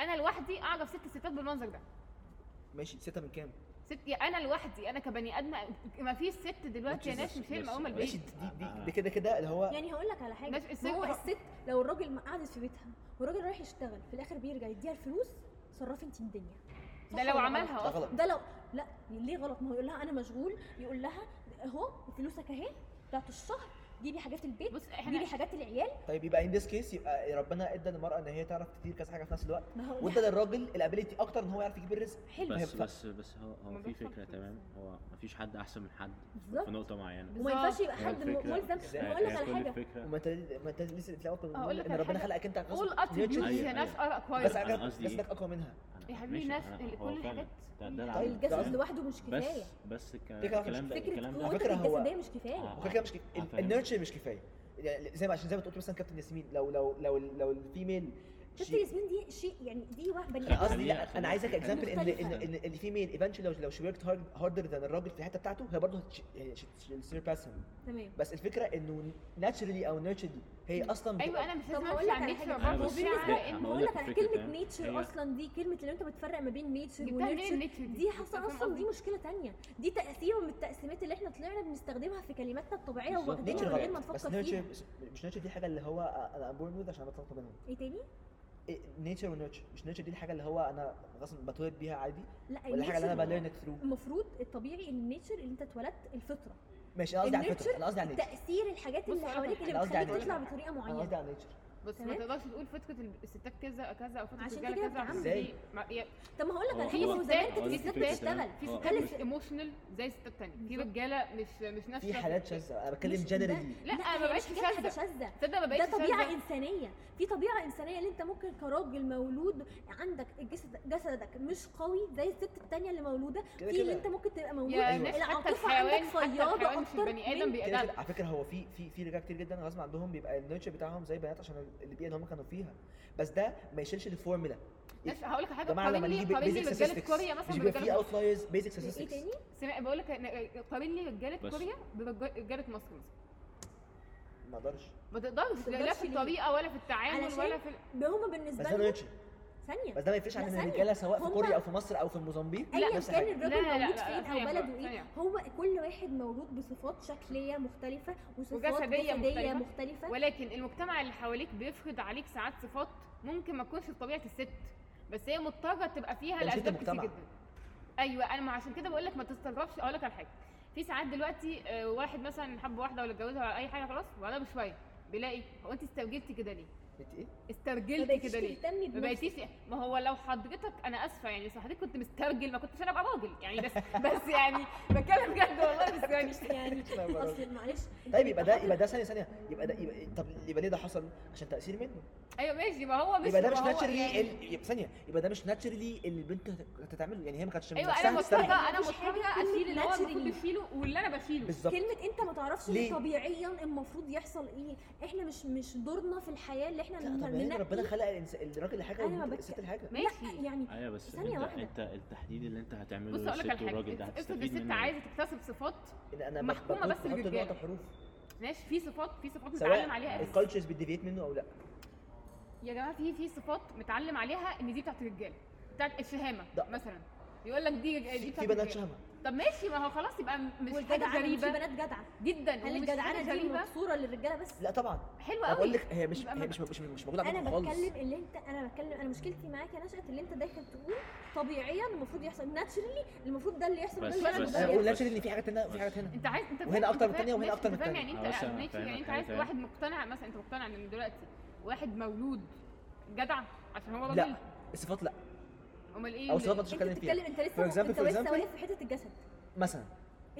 انا لوحدي اعرف ست ستات بالمنظر ده ماشي ستة من كام؟ ست انا لوحدي انا كبني ادم مفيش ست دلوقتي يا ناس مش هي مقومه ماشي البيت دي دي, دي كده كده اللي هو يعني هقول لك على حاجه ماشي، الست- ما هو الست لو الراجل ما قعدت في بيتها والراجل رايح يشتغل في الاخر بيرجع يديها الفلوس صرفي انت الدنيا صح ده لو ولا عملها ده اصلا غلط غلط؟ ده لو لا ليه غلط ما هو يقول لها انا مشغول يقول لها اهو فلوسك اهي بتاعت الشهر جيبي حاجات البيت بص احنا جيبي حاجات العيال طيب يبقى ان ذيس كيس يبقى ربنا ادى للمرأة ان هي تعرف كتير كذا حاجة في نفس الوقت ما هو وادى للراجل الابيليتي اكتر ان هو يعرف يجيب الرزق حلو بس بس- بس بس هو هو الموضوع في صعب شوية. فكره تمام هو مفيش حد احسن من حد بالظبط. في نقطه معينه وما ينفعش يبقى هي حد الفكرة. ملزم هي- هقول لك هي على كل حاجه الفكره وما انت ما انت لسه في الاول كنا هقول لك بنقول ان على ربنا حاجة. خلقك انت غصب all naturally، attributes يا أيوة، ناس أيوة. ار اكواير بس أنا عجب- قصدي بس إيه؟ انك اقوى منها أنا- يا حبيبي ماشي، ناس أنا- ال- هو كل فعلاً الحاجات ده ده طيب العدد. الجسد تمام؟ لوحده مش كفايه بس بس الك- كده على الكلام ده فكره الكلام ده قوتك فكرة هو- الجسديه مش كفايه آه. وكده كده مش أنا فاهم. النيرتشر مش كفايه يعني زي ما عشان زي ما أنت قلت مثلا كابتن ياسمين لو لو لو لو الفيميل شفت ياسمين دي شيء يعني دي واحد بني خليها- آدم. قصدي لا خليها- انا عايزك خليها اكزامبل ان ان مختلفة. ان الفيميل ايفنشولي لو لو شي وركت هاردر ذان الراجل في الحته بتاعته هي برضه يعني هتسيرباس هيم تمام بس الفكره انه ناتشرلي او نيرتشرلي هي أيوة، اصلا ايوه انا مش طب لازم هقول امشي لك على على حاجه النيتشر أنا هو برضه بس- بالنسبه هقول لك على في على هقول لك الفكرة كلمه تمام. نيتشر هي- اصلا دي كلمه اللي انت بتفرق ما بين نيتشر جبتها ونيتشر منين النيتشر دي حصل فاهم اصلا دي قصدي؟ مشكله تانية دي تقسيمه من التقسيمات اللي احنا طلعنا بنستخدمها في كلماتنا الطبيعيه بالظبط. وواخدينها نيتشر من غير ما غلط بس نفكر فيها نيرتشر مش نيرتشر دي حاجه اللي هو انا ام بورن عشان بطلت منهم ايه تاني إيه، نيتشر ونيرتشر مش نيرتشر دي الحاجه اللي هو انا اصلا بتولد بيها عادي لا ولا حاجه اللي النيتشر انا بليرن ثرو المفروض الطبيعي ان النيتشر اللي انت اتولدت الفطره ماشي انا قصدي على الفكره النيتشر انا قصدي على نيتشر تاثير الحاجات بص اللي أنا حواليك اللي يعني أنا قصدي على بتخليك النيتشر. تطلع انا قصدي على نيتشر بطريقه معينه بس ما تمام؟ تقدرش تقول فتره ال- الستات كذا كذا او فتره إيه؟ عشان الرجاله كده كذا عشان بتعمل. دي ما- يا- طب ما هقول لك على هو- حاجه هو- ما هو زمان هو- كانت في الستات ستات- بتشتغل في هو- ستات هو- مش ايموشنال زي الستات التانية في بالظبط. رجاله مش مش ناشفه في حالات شاذه انا بتكلم مش- ده- جنرالي لا انا ما هي بقتش مش حكاية حاجه شاذه شاذه تصدق ما ده بقتش طبيعه شاذه انسانيه في طبيعه انسانيه اللي انت ممكن كراجل مولود عندك الجسد جسدك مش قوي زي الست التانية اللي مولوده كده في كده اللي أيوة. انت ممكن تبقى مولود يا ناس يعني حتى العاطفه الحيوان عندك حتى صياده الحيوان مش اكتر البني ادم من كده بيأدب كده على فكره هو في في في رجاله كتير جدا غصب عنهم بيبقى النيتشر بتاعهم زي بنات عشان البيئه اللي هم كانوا فيها بس ده ما يشيلش الفورمولا ناس هقول لك على يا حاجه جماعه قارن إيه. لما لي نيجي قارن لي بيزك رجاله statistics كوريا مثلا مش بيبقى برجاله في اوتلايرز بيزك ايه statistics تاني؟ سمع بقول لك قارن لي رجاله بس. كوريا برجاله مصر مثلا ما اقدرش ما تقدرش لا- لا تقدرش في ليه؟ الطريقه ولا في التعامل علشان ولا في ال- هما بالنسبه بس ده لهم نيتشر ثانيه بس ده ما يفرقش عن لا، ان ثانية. الرجاله سواء في هم- كوريا او في مصر او في موزمبيق ايا نفس كان الحاجه لا، الراجل لا، لا، مولود لا، فين او ثانية، بلده ايه ثانية. هو كل واحد مولود بصفات شكليه مختلفه وصفات وجسدية جسديه مختلفة. مختلفه ولكن المجتمع اللي حواليك بيفرض عليك ساعات صفات ممكن ما تكونش في طبيعه الست بس هي مضطره تبقى فيها ده مش ست لاسباب كتير مجتمع. جدا ايوه انا ما عشان كده بقول لك ما تستغربش اقول لك على حاجه في ساعات دلوقتي آه، واحد مثلا حب واحده ولا اتجوزها ولا اي حاجه خلاص وبعدها بشويه بيلاقي هو انت استرجلتي كده ليه؟ انت ايه؟ ما استرجلتي بقتش كده ليه؟ تهتمي ما بنفسك بقيتيش يعني. ما هو لو حضرتك انا اسفه يعني لو حضرتك كنت مسترجل ما كنتش انا ابقى راجل يعني بس بس يعني بتكلم بجد والله بس يعني يعني اصل معلش أنت طيب يبقى ده حاطط- يبقى ده ثانيه ثانيه يبقى ده يبقى طب يبقى ليه ده حصل؟ عشان تاثير منه ايوه ماشي ما هو مش يبقى ده ما مش هو ناتشرلي يعني- ال- ثانيه يبقى ده مش ناتشرلي اللي البنت هتتعمله يعني هي ما كانتش من ايوه نفسها انا تسترجل. مضطره انا مفيش حاجة مضطره اسمها اشيل اللي هو المفروض naturally. بشيله واللي انا بشيله بالظبط كلمة انت ما تعرفش ليه؟ ليه؟ طبيعيا المفروض يحصل ايه؟ احنا مش مش دورنا في الحياة اللي احنا لا طب ننقي. يعني ربنا خلق الإنس- الراجل حاجه أنا ما بك- والست حاجه ماشي لا يعني ايوه بس ثانية انت واحدة. انت التحديد اللي انت هتعمله بص اقول لك على للست والراجل ده حاجه افرض هتستفيد الست منه إيه؟ عايزه تكتسب صفات ان انا محكومة بس بالرجالة. بالرجاله حروف ماشي في صفات في صفات سواء متعلم عليها اساس الكالتشرز بتديفيت منه او لا يا جماعه في في صفات متعلم عليها ان دي بتاعت الرجاله بتاعت الشهامه ده. مثلا يقول لك دي دي في بتاعت في بنات الرجالة. شهمه طب ماشي ما هو خلاص يبقى م- مش حاجه والجدعانة، يعني في غريبة بنات جدعه جدا هل ومش حاجة الجدعانه دي غريبة. مقصوره للرجاله بس لا طبعا حلوة انا قوي بقول لك هي مش يبقى هي ما- مش مش مش موجوده انا عندكم خالص بتكلم اللي انت انا بتكلم انا مشكلتي معاك يا نشأت اللي انت داخل تقول طبيعيا المفروض يحصل ناتشرلي المفروض ده اللي يحصل بس- وده اللي يحصل، بس- ده انا اللي بقول يحصل. لاتشر ان في حاجات هنا وفي حاجات هنا انت عايز انت وهنا فاهم- أكتر من انت التانية وهنا ماشي، أكتر انت من فاهم التانية. يعني انت أنا ماشي فاهم يعني انت حاجة عايز تانية. واحد مقتنع مثلا انت مقتنع ان دلوقتي واحد مولود جدع عشان هو لا. راجل الصفات لا امال ايه او اللي- الصفات ما انت بتتكلم بتتكلم فيها انت لسه For example- انت for لسه example- واقف في حته الجسد مثلا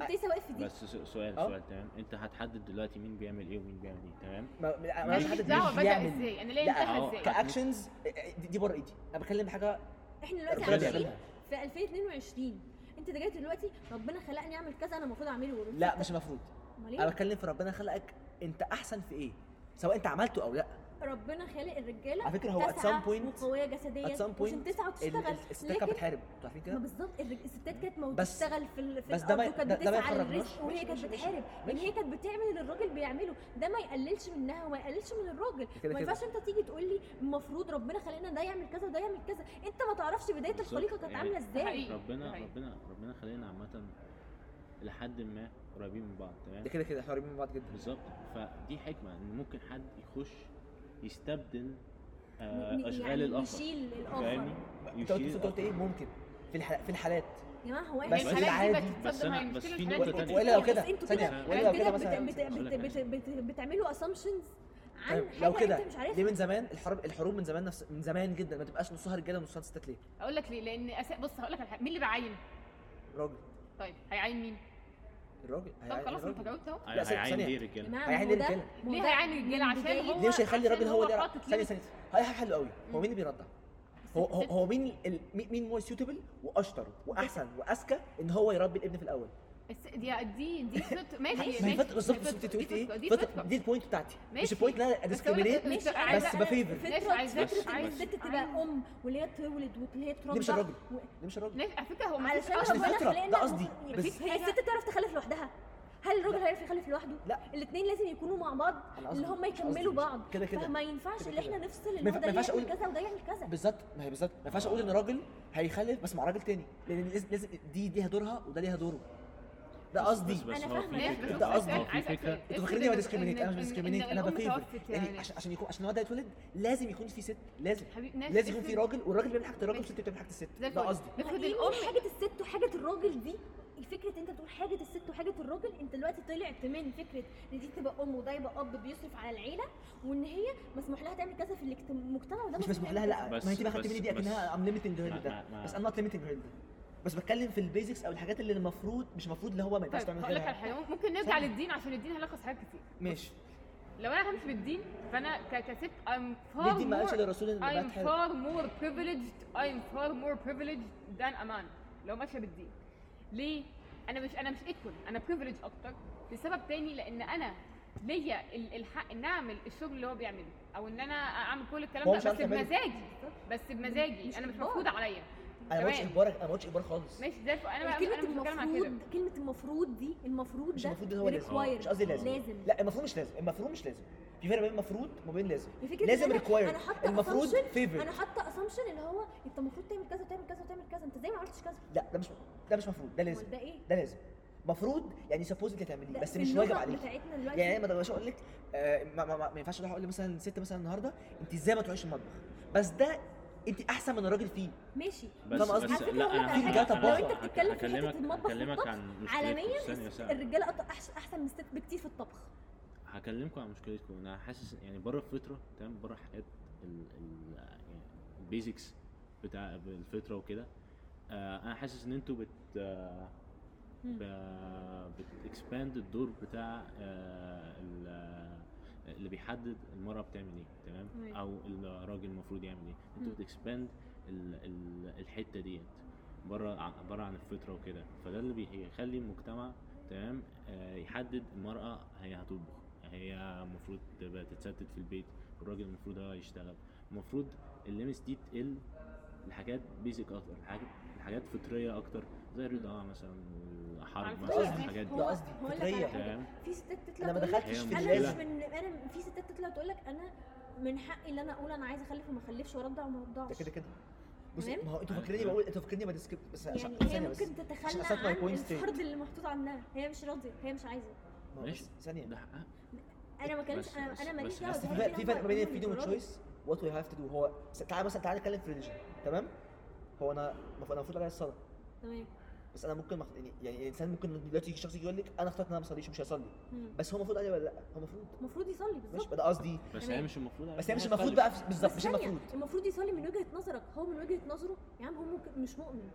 انت لسه واقف في دي بس س- سؤال أه. سؤال تمام انت هتحدد دلوقتي مين بيعمل ايه ومين بيعمل ايه تمام ما ما- ما ماليش مش حد دعوه بدا بيعمل ازاي انا ليه لا، انتهى أهو. ازاي كاكشنز إيه، دي دي بره ايدي انا بتكلم حاجه احنا ربنا دلوقتي عايشين بيعملها في 2022 انت جاي دلوقتي ربنا خلقني اعمل كذا انا المفروض اعمله ورد. لا مش المفروض امال انا ايه بتكلم في ربنا خلقك انت احسن في ايه سواء انت عملته او لا ربنا خالق الرجاله على فكرة هو at تسعة some point- وقويه جسديا at some عشان point تسعى ال- وتشتغل ال- الستات كانت لكن بتحارب انتوا عارفين ما كده بالظبط الرج- الستات كانت ما بس- بتشتغل في ال- في بس ده ما- الارض وكانت ده- ده ما بتسعى يخرجناش. للرزق وهي ماشي، كانت ماشي، ماشي. بتحارب ان ماشي. هي كانت بتعمل اللي الراجل بيعمله ده ما يقللش منها وما يقللش من الراجل كده ما كده ينفعش انت تيجي تقول لي المفروض ربنا خلقنا ده يعمل كذا وده يعمل كذا انت ما تعرفش بدايه بالظبط، الخليقه كانت يعني عامله ازاي حقيقي. ده ربنا حقيقي. ربنا ربنا خلينا عامه لحد ما قريبين من بعض تمام ده كده كده احنا قريبين من بعض جدا بالظبط فدي حكمه ان ممكن حد يخش يستبدل آه، ن- ن- اشغال يعني الاخر يشيل فاهمني الاخر انت قلت انت قلت الآخر. ايه ممكن في الح- في الحالات يا جماعه هو احنا بس بس في العادي- بس أنا- بس في نقطة و- تانية. إيه؟ والا لو بس كده انتوا ثانيه كده- والا لو كده كده بت- مثلا بت- بت- بت- بت- بتعملوا assumptions عن طيب حاجه لو كده انت مش عارفها ليه من زمان الحرب الحروب من زمان نفس من زمان جدا ما تبقاش نصها رجاله ونصها ستات ليه؟ اقول لك ليه لان أسا... بص هقول لك على حاجة. مين اللي بيعين راجل طيب هيعين مين الراجل طب هيعين خلاص انت الراجل. جاوبت اهو لا، ثانية، هيعين يعني. ثانية. ليه يا رجاله هيعين جماعه ما هو الرجالة. ده- ما هو ده ليه هيعين الرجاله من عشان بداية- هو ليه مش هيخلي عشان الراجل هو اللي حاطط ثانيه limit. ثانيه هي حلو قوي هو مين اللي بيردع؟ هو هو الست- هو مين ال... مين- مين مور سيوتبل واشطر واحسن واذكى ان هو يربي الابن في الاول الس- دي دي دي فت- ماشي ما هي أيوة، ماشي. فتره بالظبط دي فترة، انت دي تقولي فترة، ايه دي فتره فترة. دي البوينت بتاعتي مش ماشي. البوينت ان انا بس أقول لك- إيه؟ اديسكريميت مش- عايزة- بس أنا بفيفر ماشي، فكرة عايزة- فكرة ان عايزة- الست تبقى عايزة. ام واللي هي تولد واللي هي دي مش تربى الراجل و- دي مش الراجل ماشي، على فكره هو ما فيش علشان عشان ربنا الفطرة، خلقنا ده قصدي. المفروض- بس- هي الست تعرف تخلف لوحدها هل الراجل هيعرف يخلف لوحده؟ لا. الاثنين لازم يكونوا مع بعض أنا قصدي- اللي هم مش قصدي، يكملوا مش- بعض كده كده فما ينفعش كده اللي كده. احنا نفصل ما ان هو ده ينفعش يعمل أقول- كذا وده يعمل كذا بالظبط ما هي بالظبط ما ينفعش اقول ان راجل هيخلف بس مع راجل تاني لان لازم لازم دي ليها دورها وده ليها دوره ده بس- قصدي بس- بس أنا هو في فاهمة ده. فكرة- ده هو قصدي. في فكرة انت فاكرني ما ديسكريمينيت انا مش ديسكريمينيت انا بفيفر يعني عشان عشان يكون عشان الواد ده يتولد لازم يكون في ست لازم لازم يكون في راجل والراجل بيعمل حاجه الراجل والست بتعمل حاجه الست زي ده الفل. قصدي افرض ليه الام حاجه يعني الست وحاجه الراجل دي فكره انت بتقول حاجه الست وحاجه الراجل انت دلوقتي طلعت من فكره ان دي تبقى ام وده يبقى اب بيصرف على العيله وان هي مسموح لها تعمل كذا في الاجت- المجتمع وده مش مسموح لها تعمل لا بس- ما انت بقى خدت بس- مني دي بس- اكنها ام ليميتنج هير ما- ده ما- ما- بس انا نوت ليميتنج هير ده بس بتكلم في البيزكس او الحاجات اللي المفروض مش المفروض اللي هو ما ينفعش طيب تعمل هقول لك على كده حاجه ممكن نرجع ثانية. للدين عشان الدين هيلخص حاجات كتير ماشي لو انا همشي بالدين فانا ك- كست I'm دي far دي ما قالش more للرسول ان I'm بقى تحارب far more privileged I'm far more privileged than a man لو ماشيه بالدين ليه؟ انا مش انا مش equal انا privileged اكتر لسبب تاني لان انا ليا ال- الحق ان اعمل الشغل اللي هو بيعمله او ان انا اعمل كل الكلام هو ده مش بس عارف يعمله. بمزاجي بس بمزاجي مش انا مش إجبار. مفروض عليا انا ما قلتش تمام. اجبارك انا ما قلتش اجبار خالص ماشي زي الفل انا بقى كلمه انا مش بتكلم عن كده المفروض كلمه المفروض دي المفروض مش ده المفروض هو لازم آه، required. مش قصدي لازم لازم لا المفروض مش لازم المفروض مش لازم في فرق بين المفروض وبين لازم الفكرة إن لازم أنا- ريكوايرد أنا حاطة المفروض assumption- فيفر انا حاطه اسامبشن اللي هو انت المفروض تعمل كذا وتعمل كذا وتعمل كذا انت زي ما عملتش كذا لا ده مش ده مش مفروض ده لازم امال ده ايه؟ ده لازم مفروض يعني سبوز انت ده هتعمليه بس في مش اللغة واجب عليك بتاعتنا دلوقتي يعني ما تقدرش اقول لك آه، ما, ما, ما, ما ينفعش اروح اقول مثلا ست مثلا النهارده انت ازاي ما تروحيش المطبخ بس ده انت احسن من الراجل فيه ماشي بس فاهم بس قصدي؟ على فكرة أقول لك لا انا على حاجة. هك- لو أنت بتتكلم أنا هك- في هكلمك- حتة المطبخ هكلمك والطبخ، عن مشكلتكم. عالميا ثانية، ثانية. الرجاله أط- أحس- احسن من الست بكتير في الطبخ هكلمكم عن مشكلتكم انا حاسس يعني بره الفطره تمام بره حاجات ال ال يعني البيزكس بتاع الفطره وكده آه انا حاسس ان انتوا بت آه طيب، بتكسباند الدور بتاع آه ال- آه، اللي بيحدد المرأة بتعمل ايه تمام أيوة. او الراجل المفروض يعمل ايه انتوا بتكسباند ال- ال- الحتة ديت بره عن بره عن الفطرة وكده فده اللي بيخلي المجتمع تمام آه، يحدد المرأة هي هتطبخ هي المفروض تبقى تتستت في البيت الراجل المفروض هو يشتغل المفروض الليمس دي تقل لحاجات بيزك اكتر لحاجات لحاجات فطريه اكتر زي آه، الرضاعه مثلا على والحرب فكرة مثلا قصدي- الحاجات دي ده قصدي، طيب، هقول فطرية. لك على حاجة تمام في ستات تطلع انا ما تقول لك دخلتش هي في مش أنا اللازم مش من أنا في ستات تطلع تقول لك أنا من حقي إن أنا أقول أنا عايزة أخلف وما أخلفش وأرضع وما ده أرضعش كده كده بص تمام؟ ما هو انتوا فاكريني بقول انتوا فاكريني بديسكريبت بس عشان- يعني هي ثانية بس. ممكن تتخلى أثبت my عن point state. الفرض اللي محطوط عنها هي مش راضيه هي مش عايزه ما هو ماشي. بس ثانية ده حقها انا ما كانش بس- انا بس- انا ماليش بس- دعوه في دي فرق حاجة في فرق هم ما بين عاملينها الفريدم بالإرادة. تشويس وات وي هاف تو دو هو بس تعالى مثلا تعالى نتكلم في الريليجن تمام هو انا المفروض انا المفروض اراجع الصلاه تمام بس انا ممكن مخ... يعني- يعني الانسان ممكن دلوقتي يجي شخص يجي يقول لك انا اخترت ان انا ما اصليش ومش هصلي مم. بس هو المفروض عليه ولا لا هو المفروض المفروض يصلي ماشي بالظبط ده قصدي بس تمام. هي مش المفروض بس هي مش إنها المفروض بقى تخلف. في- بالظبط بس مش ثانية، المفروض المفروض يصلي من وجهه نظرك هو من وجهه نظره يا عم هو ممكن مش مؤمن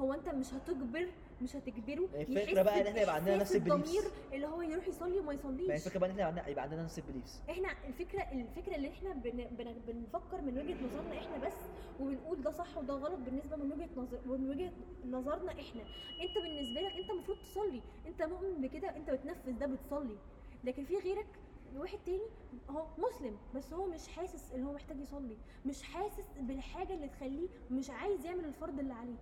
هو انت مش هتجبر مش هتجبره ما هي يحس الفكرة بقى إن إحنا يبقى عندنا بإحساس نفس الbeliefs. الضمير اللي هو يروح يصلي ما وما هي يصليش الفكره يعني بقى ان احنا يبقى عندنا- يبقى عندنا نفس البيليفز احنا الفكره الفكره اللي احنا بن... بن... بنفكر من وجهه نظرنا احنا بس وبنقول ده صح وده غلط بالنسبه من وجهه نظر من وجهه نظرنا احنا انت بالنسبه لك انت المفروض تصلي انت مؤمن بكده انت بتنفذ ده بتصلي لكن في غيرك واحد تاني هو مسلم بس هو مش حاسس ان هو محتاج يصلي مش حاسس بالحاجه اللي تخليه مش عايز يعمل الفرض اللي عليه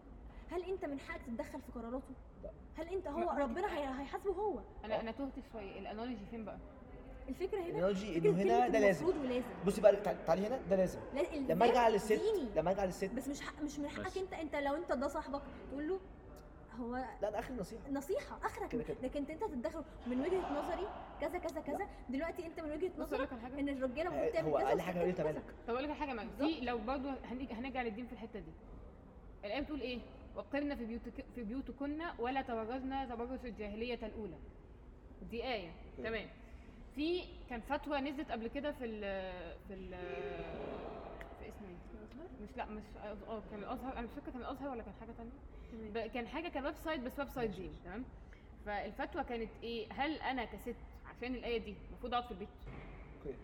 هل انت من حقك تتدخل في قراراته لا. هل انت هو لا. ربنا هي- هيحاسبه هو انا انا تهت شويه الانالوجي فين بقى؟ الفكره هنا الانرجي فكره انه هنا كلمة ده لازم المفروض ولازم بصي بقى تع- تعالي هنا ده لازم لا ال- لما ده ارجع للست ديني. لما ارجع للست بس مش حق مش من حقك بس. انت انت لو انت ده صاحبك تقول له هو لا ده اخر نصيحه نصيحه اخرك كده كده. لكن انت تتدخل من وجهه نظري كذا كذا كذا دلوقتي انت من وجهه بص اقول نظرك لك على حاجه ان الرجاله المفروض تعمل هو كذا اقل حاجه يقول لي والست انت تعمل مالك طب اقول لك على حاجه معلش دي لو برضه هنيجي هنرجع للدين في الحته دي الايه بتقول ايه وقرنا في بيوتك في بيوتكن ولا تبرجن تبرج الجاهليه الاولى دي ايه تمام في كان فتوى نزلت قبل كده في ال في ال في اسمه ايه مش لا مش اه كان الازهر انا مش فاكره كان الازهر ولا كان حاجه تانية تمام. ب- كان حاجه كان ويب سايت بس ويب سايت دين تمام فالفتوى كانت ايه هل انا كست عشان الايه دي المفروض اقعد في البيت اوكي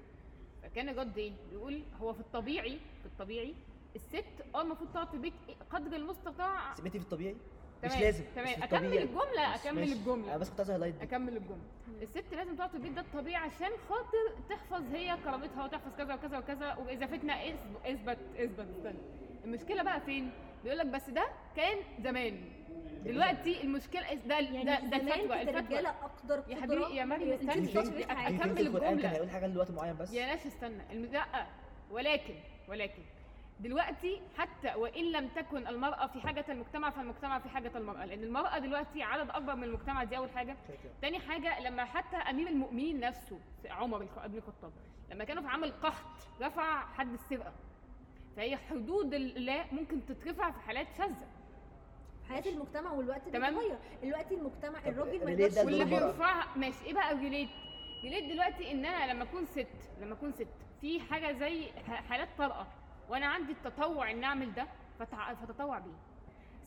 فكان جد ايه بيقول هو في الطبيعي في الطبيعي الست اه المفروض تقعد في البيت قدر آه. المستطاع سميتي في الطبيعي مش تمام، لازم، بس تمام في اكمل الطبيعي. الجمله بس اكمل ماشي. الجمله انا بس كنت عايز هايلايت دي اكمل الجمله الست لازم تقعد في البيت ده الطبيعي عشان خاطر تحفظ هي كرامتها وتحفظ كذا وكذا وكذا واذا فتنا إثب- اثبت اثبت استنى المشكله بقى فين بيقول لك بس ده كان زمان دلوقتي المشكله ده يعني ده ده زمان الفتوى كانت الفتوى الرجاله اقدر يا حبيبي يا مريم Do استني you think- استني أك- Do you think أكمل القران الجملة. كان هيقول حاجه لوقت معين بس يا ناس استنى الم- لا ولكن ولكن دلوقتي حتى وان لم تكن المراه في حاجه المجتمع فالمجتمع في حاجه المراه لان المراه دلوقتي عدد اكبر من المجتمع دي اول حاجه كده كده. تاني حاجه لما حتى امير المؤمنين نفسه عمر الخ- ابن الخطاب لما كانوا في عمل قحط رفع حد السرقه فهي حدود الله ممكن تترفع في حالات شاذه حياه المجتمع والوقت تمام. بيتغير دلوقتي المجتمع طب الراجل ما ليه ده يقدرش اللي واللي المرأة. بيرفعها ماشي ايه بقى ريليت ريليت دلوقتي ان انا لما اكون ست لما اكون ست في حاجه زي ح- حالات طلقه وانا عندي التطوع ان اعمل ده فتع- فتطوع بيه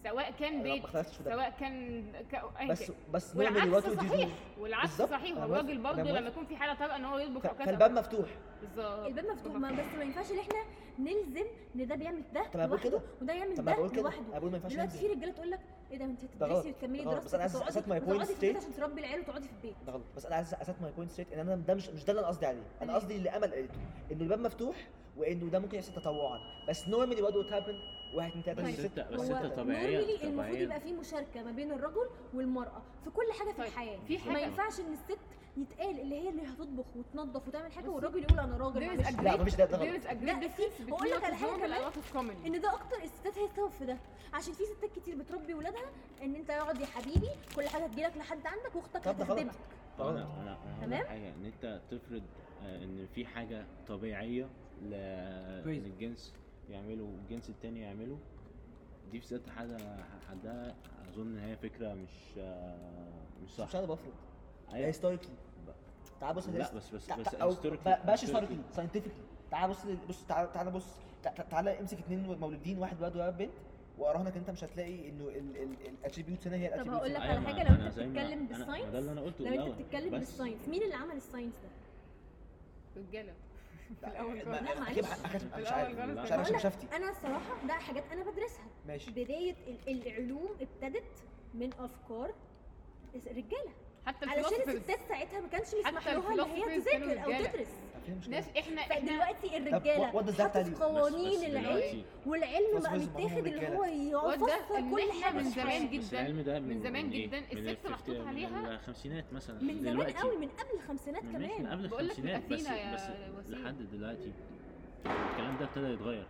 سواء كان أنا ما بيت اقتنعتش في ده. سواء كان ك... أيا بس كان. بس نعمل والعكس what we do. صحيح والعكس بالظبط، صحيح أنا والراجل موافق، برضه أنا لما موافق. يكون في حاله طلقه ان هو يطبخ او ف- كذا فالباب مفتوح بالظبط الباب مفتوح ما بس ما ينفعش ان احنا نلزم ان ده بيعمل ده طب أنا بقول لوحده كده. وده يعمل طب ما ده بقول كده لوحده انا بقول ما ينفعش دلوقتي في ننزل. رجاله تقول لك ايه ده انت غلط، هتدرسي وتكملي ده غلط. بس دراستك أنا عايز أثبت وتقعدي my point وتقعدي في straight. البيت عشان تربي العيال وتقعدي في البيت ده غلط بس انا عايز اثبت ماي بوينت ستريت ان انا ده مش مش ده اللي انا قصدي عليه انا قصدي اللي امل قالته انه الباب مفتوح وانه ده ممكن يحصل تطوعا بس نورمالي وات وات هابن واحد اتنين تلاته بس طيب. ستة بس هو ستة طبيعية normally المفروض يبقى طبيعية في مشاركه ما بين الرجل والمراه في كل حاجه في طيب، الحياه في ما حاجة- ينفعش ان الست يتقال اللي هي اللي هتطبخ وتنظف وتعمل حاجه بصي، والراجل يقول انا راجل there is a معلش. لا، مفيش ده، great ده غلط. there is a لا، great في- difference هقول between لك على what is حاجة wrong and كمان، what is common ان ده اكتر الستات هي السبب في ده عشان في ستات كتير بتربي ولادها ان انت اقعد يا حبيبي كل حاجه تجيلك لحد عندك واختك طب ده غلط. هتخدمك انا غلط انا أنا هقول تمام؟ لك حاجة ان انت تفرض آه، ان في حاجة طبيعية ل- كويس. إن الجنس يعمله والجنس التاني يعمله دي في ذات حاجة حدها اظن ان هي فكرة مش آه، مش مش صح انا بفرض أيوة. هيستوريكلي تعال بص لا بس بس بس historically- ماشي historically. هيستوريكلي ساينتفكلي تعال بص لل- بص تعال تعال بص تع- تع- تعال امسك اتنين مولودين واحد ولد وواحد بنت واراهنك انت مش هتلاقي انه الاتريبيوتس هنا هي الاتريبيوتس هقول لك أيوة، على ما- حاجة لو أنا أنت زي ما- بتتكلم أنا- ما بالساينس، ده اللي انا قلته لو انت الأول. بتتكلم بس بالساينس مين اللي عمل الساينس ده؟ رجاله في لا، الاول ما- خالص. اكيد ح- مش عارف الأول خالص مش كان عارف عشان بقول شفتي انا الصراحه ده حاجات انا بدرسها ماشي بدايه ال- العلوم ابتدت من افكار رجاله حتى علشان الفلوسفرز الستات ساعتها ما كانش مسمح حتى لها ان هي الفلاسفرز كانوا تذاكر او رجالة. تدرس فاهم مش ناس احنا احنا فدلوقتي what- what does الرجاله that حطت tell you؟ بس- بس قوانين العلم دلوقتي- والعلم بقى فلسفة متاخد اللي هو وده يعصر إن كل إحنا حاجه من في زمان الحياة. جدا بس العلم ده من زمان إيه؟ جداً من الست ال محطوط 50 عليها- من الخمسينات مثلا من زمان دلوقتي قوي من قبل الخمسينات من إحنا كمان قبل بقول لك الخمسينات بس أثينا يا بس وسيم. لحد دلوقتي الكلام ده ابتدى يتغير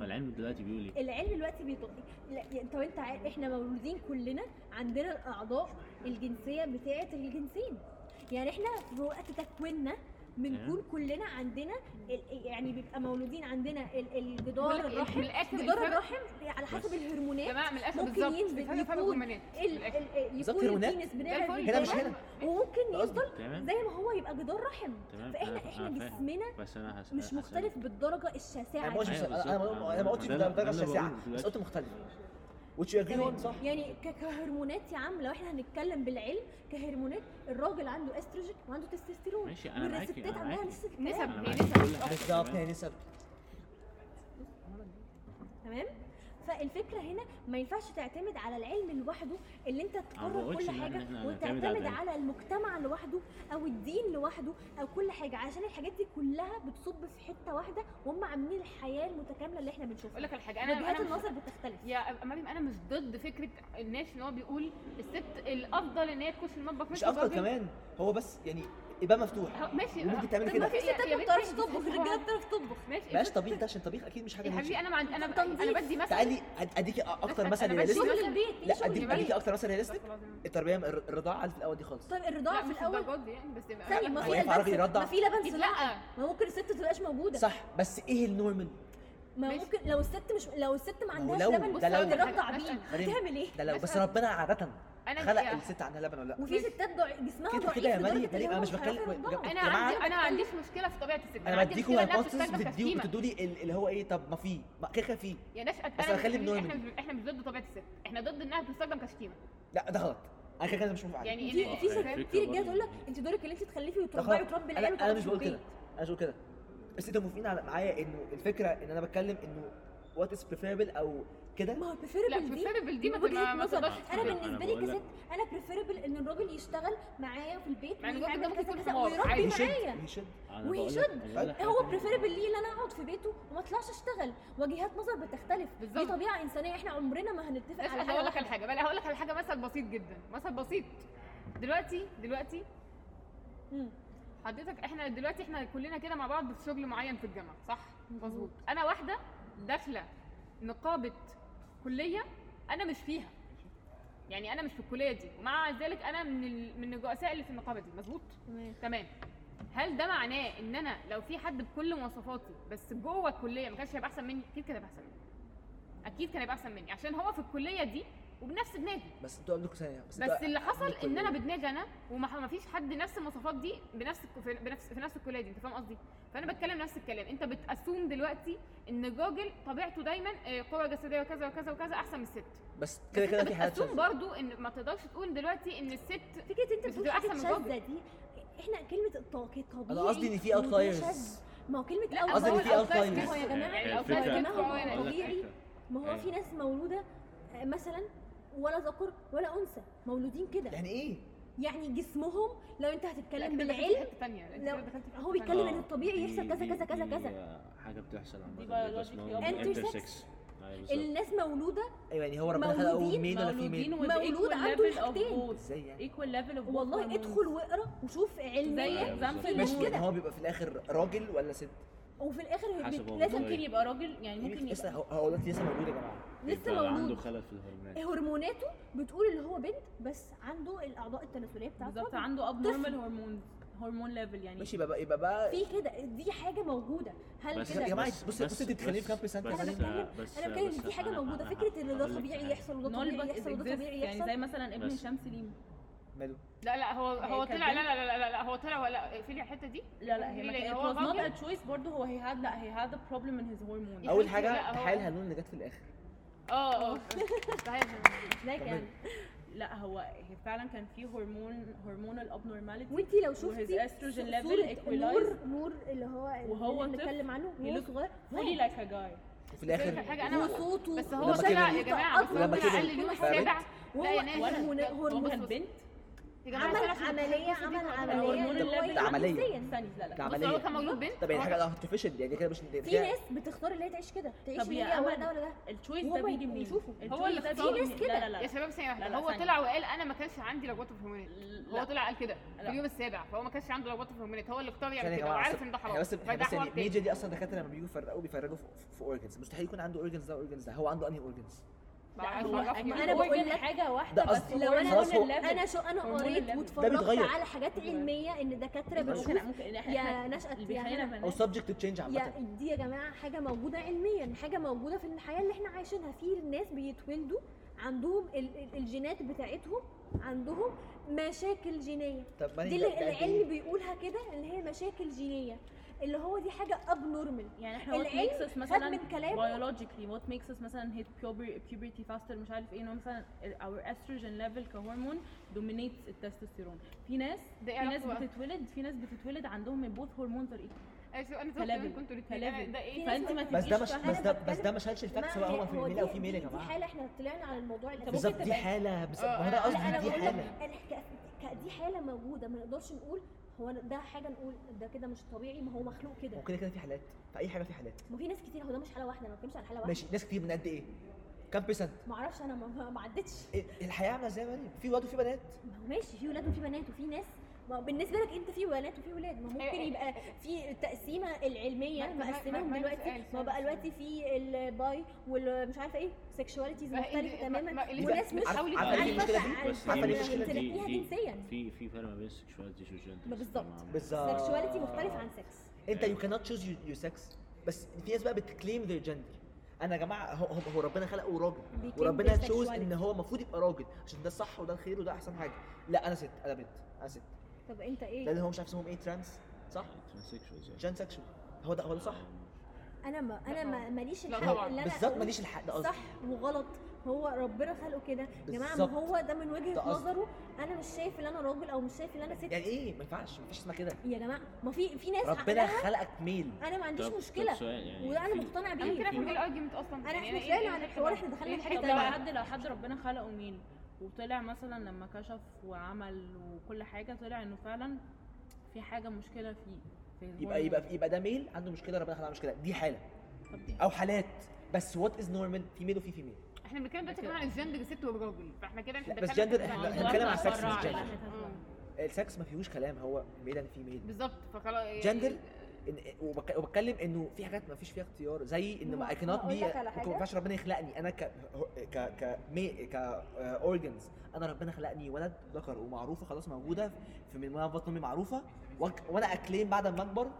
فالعلم دلوقتي بيقول ايه؟ العلم دلوقتي بيطلق لا يعني طب انت عارف احنا مولودين كلنا عندنا الاعضاء الجنسيه بتاعه الجنسين يعني احنا في وقت تكويننا بنكون كلنا عندنا ال- يعني بيبقى مولودين عندنا ال- الجدار بقولك إيه، من الرحم الاخر جدار الفرق- الرحم على حسب بس. يا الهرمونات جماعه من الاخر ممكن بالظبط ينزل الفرق فرق يكون هرمونات من ال- الآخر. ال- ال- بالظبط يكون هرمونات. البينس زي بنعمل الفل. هنا مش جدار هنا. وممكن ده قصدي. يفضل تمام؟ زي ما هو يبقى جدار رحم تمام فاحنا أنا- احنا أنا فاهم. جسمنا بس انا هسأل مش مختلف بالدرجه انا ما الشاسعه قلتش دي. أيوة انا بالظبط. أنا- انا ما قلتش ما ده- بالدرجه ده اللي الشاسعه بقوله بس دلوقتي. قلت مختلف which you agree أيوه. تمام. on صح يعني ك- كهرمونات يا عم لو احنا هنتكلم بالعلم كهرمونات الراجل عنده استروجين وعنده تستوستيرون ماشي انا معاكي والستات انا عندها معاكي نسب نسب كمان. أنا هي معاكي نسب كل حاجة، بالظبط تمام؟ يعني نسب تمام فالفكره هنا ما ينفعش تعتمد على العلم لوحده اللي انت تقرر بقولش كل إن إحنا- حاجه إحنا هنعتمد على وتعتمد العلم. على المجتمع لوحده او الدين لوحده او كل حاجه عشان الحاجات دي كلها بتصب في حته واحده وهم عاملين الحياه المتكامله اللي احنا اقول بنشوفها لك على حاجه انا وجهات انا مش- النظر بتختلف يا مريم انا مش ضد فكره الناس ان هو بيقول الست الافضل ان هي تخش المطبخ مش مش إيه افضل الراجل. كمان هو بس يعني يبقى مفتوح ه- ماشي وممكن تعملي طب كده. ما ما في- في يا- ستات يا ما بنتي، بتعرفش بس تطبخ هو- الرجاله بتعرف تطبخ ماشي بلاش طبيخ ده عشان طبيخ اكيد مش حاجه يا حبيبي ماشي انا ما عندي انا تنظيف. انا بدي مثلا تعالي أد- اديكي اكتر أنا مثل بشوف- رياليستيك شغل البيت لا شغل اديك البيت. اديك البيت اكتر مثلا رياليستيك لا التربيه الر- الرضاعه في الاول دي خالص طيب الرضاعه في مش الاول الدرجات دي يعني بس يبقى- ثاني ما هو في ينفع راجل لبن يرضع؟ ما في لبن أكيد صناعي لا ما ممكن الست تبقاش موجوده صح بس ايه النورمال ما ماشي. ممكن لو الست مش لو الست ما هو عندهاش لو- لبن ده بس لو- ترضع مثلاً. بيه مريم، هتعمل ايه؟ ده لو بس مثلاً. ربنا عاده انا خلق يا- الست عندها لبن ولا لا وفي آه، ماشي. ستات ضع... جسمها كده ضعيف كده يا لدرجة مريم- إن مريم، هو أنا مش مش عارفة بتكلم- يرضعها. انا جماعة، عندي انا ما عنديش مشكله في طبيعه الست انا عندي بديكوا مشكلة إنها هايبوثيسز بتستخدم بتديني كشتيمة. بتدوا لي ال- اللي هو ايه طب ما في ما كده كده في يا ناس انا بس يعني مش- هنخلي النوع احنا من- مش- احنا مش ضد طبيعه الست احنا ضد انها بتستخدم كشتيمه لا ده غلط انا كده كده مش موافق عليه يعني في إن- في ست- الفكرة في رجاله برضه تقول لك إن- انت دورك اللي انت تخلفي ده وتربي خلاص. وتربي انا العيال انا وتقعدي مش في بقول كده البيت. انا مش بقول كده بس انتوا موافقين على- معايا انه الفكره ان انا بتكلم انه وات از بريفيربل او كده ما هو لا بريفيربل دي preferable دي ما- ما وجهة ما نظر. تقدرش انا أنا بالنسبه لي بقول لك- كست انا بريفيربل ان الراجل يشتغل معايا في البيت مع إن الراجل ويعمل ده ممكن كذا يكون كذا حمار، عادي. ويربي يشد معايا يشد أنا بقول لك- ويشد. أنا بقول لك حاجة هو تانية. بريفيربل ليه ان انا اقعد في بيته وما اطلعش اشتغل وجهات نظر بتختلف دي بالظبط. طبيعه انسانيه احنا عمرنا ما هنتفق بس على أنا حاجه هقول لك واحدة. على حاجه بقى هقول لك على حاجه مثل بسيط جدا مثل بسيط دلوقتي دلوقتي مم. حضرتك احنا دلوقتي احنا كلنا كده مع بعض في شغل معين في الجامعه صح مظبوط. مظبوط انا واحده داخله نقابه كليه انا مش فيها يعني انا مش في الكليه دي ومع ذلك انا من ال... من الرؤساء اللي في النقابه دي مظبوط تمام تمام هل ده معناه ان انا لو في حد بكل مواصفاتي بس جوه الكليه ما كانش هيبقى احسن مني اكيد كان هيبقى احسن مني اكيد كان هيبقى احسن مني عشان هو في الكليه دي وبنفس دماغي بس انتوا عندكم ثانيه بس, بس اللي حصل عندكوا ان ال- انا بدماغي انا وما ما فيش حد نفس المواصفات دي بنفس الك- في بنفس في نفس الكليه دي انت فاهم قصدي فانا بتكلم نفس الكلام انت بتاسوم دلوقتي ان الراجل طبيعته دايما آه، قوه جسديه وكذا وكذا وكذا احسن من الست بس كده كده في حاجات بتاسوم شاذة. برضو ان ما تقدرش تقول دلوقتي ان الست فكره انت بس بتقول دي حاجه أحسن من شاذه جوجل. دي احنا كلمه الطاقه طبيعي انا قصدي ان في وده اوتلايرز شاذ. ما هو كلمه ما اوت قصدي إن هو في الأوتلاير outliers. كده. هو يا جماعة يعني هي الأوتلاير الفكرة- كده ما هو هو- أقول لك طبيعي. فكرة. ما هو أيوة. في ناس مولوده آه، مثلا ولا ذكر ولا انثى مولودين كده يعني ايه يعني جسمهم لو انت لا، هتتكلم كده دخلت في بالعلم حتة تانية، لا، لو- كده دخلت في هو حتة بيتكلم تانية. إن الطبيعي آه، دي- يحصل كذا دي- كذا كذا دي، كذا. آه، حاجه بتحصل عامه دي بيبقى biological اسمها intersex. intersex. أيوة بالظبط. الناس مولوده ايوه يعني هو ربنا خلقه مولودين- مين ولا في مولودين مين مولود with equal عنده level of الحاجتين. both. ازاي يعني equal level of both والله hormones. ادخل واقرا وشوف زي علميا بالظبط. example ماشي مولود. يعني هو بيبقى في الاخر راجل ولا ست وفي الاخر هي حسب بت- هو لازم مولود ممكن يبقى راجل يعني ممكن ممكن لسه يبقى هو إيه، هو دلوقتي لسه موجود يا جماعه لسه بيبقى عنده مولود إيه خلل في الهرمونات هرموناته بتقول اللي هو بنت بس عنده الاعضاء التناسليه بتاعته بالظبط راجل. عنده abnormal هرمون هرمون ليفل يعني ماشي يبقى بقى يبقى بقى في كده دي حاجه موجوده هل بس يا كده جماعه بس- بص بص بس- انت بتتكلمي في كام بس- بيرسنت بس- أنا بتكلم- بس- انا بتكلم ان بس دي حاجه أنا- موجوده أنا فكره ان ده هقول لك طبيعي حاجة. يحصل وده طبيعي knowledge يحصل وده exists طبيعي يعني زي يحصل مثلا ابن بس. هشام سليم ماله لا لا هو هو كانت طلع لا بنت. لا لا لا, لا هو طلع ولا اقفلي الحته دي لا لا هي ما ليه؟ كانت هو was not راجل. a choice برضه هو he had لا he had a problem in his hormones اول لا، حاجه هو- تحايل هنون اللي جت في الاخر اه اه ازيك يعني لا هو هي فعلا كان في هرمون هرمونال abnormality وانتي لو وhis شفتي estrogen ص- level صورة equalized. نور نور اللي هو اللي وهو احنا طفل. بنتكلم عنه He وهو looks صغير fully like a guy وفي الاخر حاجة أنا- وصوته بس هو ولما طلع كبر- يا جماعه بس هو ولما طلع كبر- قال لي اليوم فاهمة؟ السابع لا يا وهو ناس وانا هرمون- هو هرمون كان بنت يا جماعه عمل أنا عشان عمليه التحسس دي عمل كنت- عمليه الهرمون إن هو اللي يبقى عملية. نفسياً. استني لا ده لا بس عملية. هو كان مولود بنت طب يعني حاجه ارتفيشال يعني كده مش في ناس بتختار اللي هي تعيش كده تعيش طب اللي يا هي ولا أمل، ده ولا ده التشويس ده هما بيجي منين؟ بيشوفوا. التشويس هو اللي ده اختار. بيجي في ناس منين؟ كده. لا لا يا لا شباب ثانيه لا، واحده لا، هو ثانية. طلع وقال انا ما كانش عندي لخبطه في الهرمونات لا. هو طلع قال كده في لا. اليوم السابع فهو ما كانش عنده لخبطه في الهرمونات هو اللي اختار ثانية يعمل يا كده جماعه وعارف بس- ان ده احنا حرام بس احنا فده بس حوار يعني تاني ميجر دي اصلا دكاتره لما بييجوا يفرقوا بيفرقوا في, في اورجنز مستحيل يكون عنده اورجنز ده اورجنز ده هو عنده انهي اورجنز لا، بعرف هو أعرف أكيد. منه. أنا هو بقول كان لك- حاجه واحده ده بس أصل لو هو انا خلاص هو- هرمون اللبن. انا شو انا هرمون قريت اللبن. ده واتفرجت بيتغير. على حاجات علميه ان الدكاتره ممكن بتشوف ممكن يا نشأة اللي يا بيخلينا هنا. بنات. او سبجكت تشينج يا عامه دي يا جماعه حاجه موجوده علميا حاجه موجوده في الحياه اللي احنا عايشينها في ناس بيتولدوا عندهم ال- ال- الجينات بتاعتهم عندهم مشاكل جينيه طب ما يعني دي اللي العلم بيقولها كده اللي هي مشاكل جينيه اللي هو دي حاجه ابنورمال يعني احنا what العلم makes us خد مثلا من كلامه biologically what makes us مثلا hit puber- puberty faster مش عارف ايه ان هو مثلا our estrogen level كهرمون dominates التستوستيرون في ناس ده إيه في ناس اعرفه بقى. بتتولد في ناس بتتولد عندهم من both هرمونز are equal أيوة، انا كلابل. زوجتي كنت الاثنين كلابل. ده ايه في ناس فانت ما بس ده تبقيش مش فاهمة. بس ده بس ده ما شالش الفاكت سواء هو في ميل او في ميل يا دي جماعه حاله احنا طلعنا على الموضوع اللي بالظبط دي حاله بالظبط ما هو ده آه، لا انا قصدي دي بقول حاله لك أنا- ك- ك- دي حاله موجوده ما نقدرش نقول هو أنا- ده حاجه نقول ده كده مش طبيعي ما هو مخلوق كده هو كده كده في حالات في اي حاجه في حالات ما في ناس كتير هو ده مش حاله واحده ما بتكلمش على حاله واحده ماشي ناس كتير من قد ايه كام بيرسنت ما اعرفش انا ما- ما ما عدتش إيه- الحياه عامله ازاي يا مريم في ولاد وفي بنات ما هو ماشي في ولاد وفي بنات وفي ناس ما هو بالنسبه لك انت في ولاد وفي ولاد ما ممكن إيه- يبقى في التقسيمه العلميه ما- ما- ما- مقسماهم ما- دلوقتي سؤال- ما هو سؤال- بقى سؤال. دلوقتي في الباي والمش عارفه ايه سكشواليتيز مختلفه تماما وناس مش عارفة- حاولت عارفة ليه عارفة- المشكلة دي؟ عارفة- بس عارفة دي ليه مش- المشكلة دي- تلقيها دي- جنسيا في في فرق ما بين السكشواليتي والجندر ما بالظبط. بالظبط سكشواليتي مختلف عن سكس انت يو كانت تشوز يور سكس بس في ناس بقى بتكليم ذير جندر انا يا جماعه هو, هو- هو ربنا خلقه راجل Became وربنا their تشوز sexuality. ان هو المفروض يبقى راجل عشان ده الصح وده الخير وده احسن حاجه لا انا ست انا بنت انا ست طب انت ده ايه اللي هو مش عارف اسمهم ايه ترانس صح يعني. جان سكشوال هو ده هو ده صح آه، انا ما انا ما ماليش لا الحق طبعاً. اللي انا بالظبط أقول ماليش الحق ده قصدي صح وغلط هو ربنا خلقه كده يا جماعه ما بالظبط. هو ده من ده وجهه قصدي. نظره انا مش شايف ان انا راجل او مش شايف ان انا ست يعني ايه ما ينفعش ما فيش اسمها كده يا جماعه ما في في ناس ربنا عقلها خلقك ميل انا ما عنديش مشكله يعني وده انا مقتنع انا ممكن بيه افهم ايه الارجيومنت اصلا أنا يعني مش إيه- لاقي إيه عن الحوار؟ الحوار، إحنا دخلنا إيه في حتة طب تمام. لو الحتة بقى. حد لو حد ربنا خلقه مين وطلع مثلا لما كشف وعمل وكل حاجه طلع انه فعلا في حاجه مشكله فيه في يبقى الهرمون. يبقى يبقى ده ميل عنده مشكله ربنا خلقه مشكله دي حاله طب دي- او حالات بس وات از نورمال في ميل وفي فيميل احنا بنتكلم دلوقتي كمان عن الجندر ست وراجل فاحنا كده لا، احنا بس دخلنا gender في- احنا- موضوعنا احنا بنتكلم عن sex مش اتفرع على gender. حتت آه. معينة. السكس ما فيهوش كلام هو ميل اند فيميل بالظبط فخلاص يعني- Gender؟ إن- وبك- وبتكلم انه في حاجات ما فيش فيها اختيار زي ان ما اي كانت هقول بي لك على ما حاجة. ينفعش ربنا يخلقني انا ك ك ك مي- ك اورجنز انا ربنا خلقني ولد ذكر ومعروفه خلاص موجوده في من وانا في بطن امي معروفه وأك- وانا اكليم بعد ما اكبر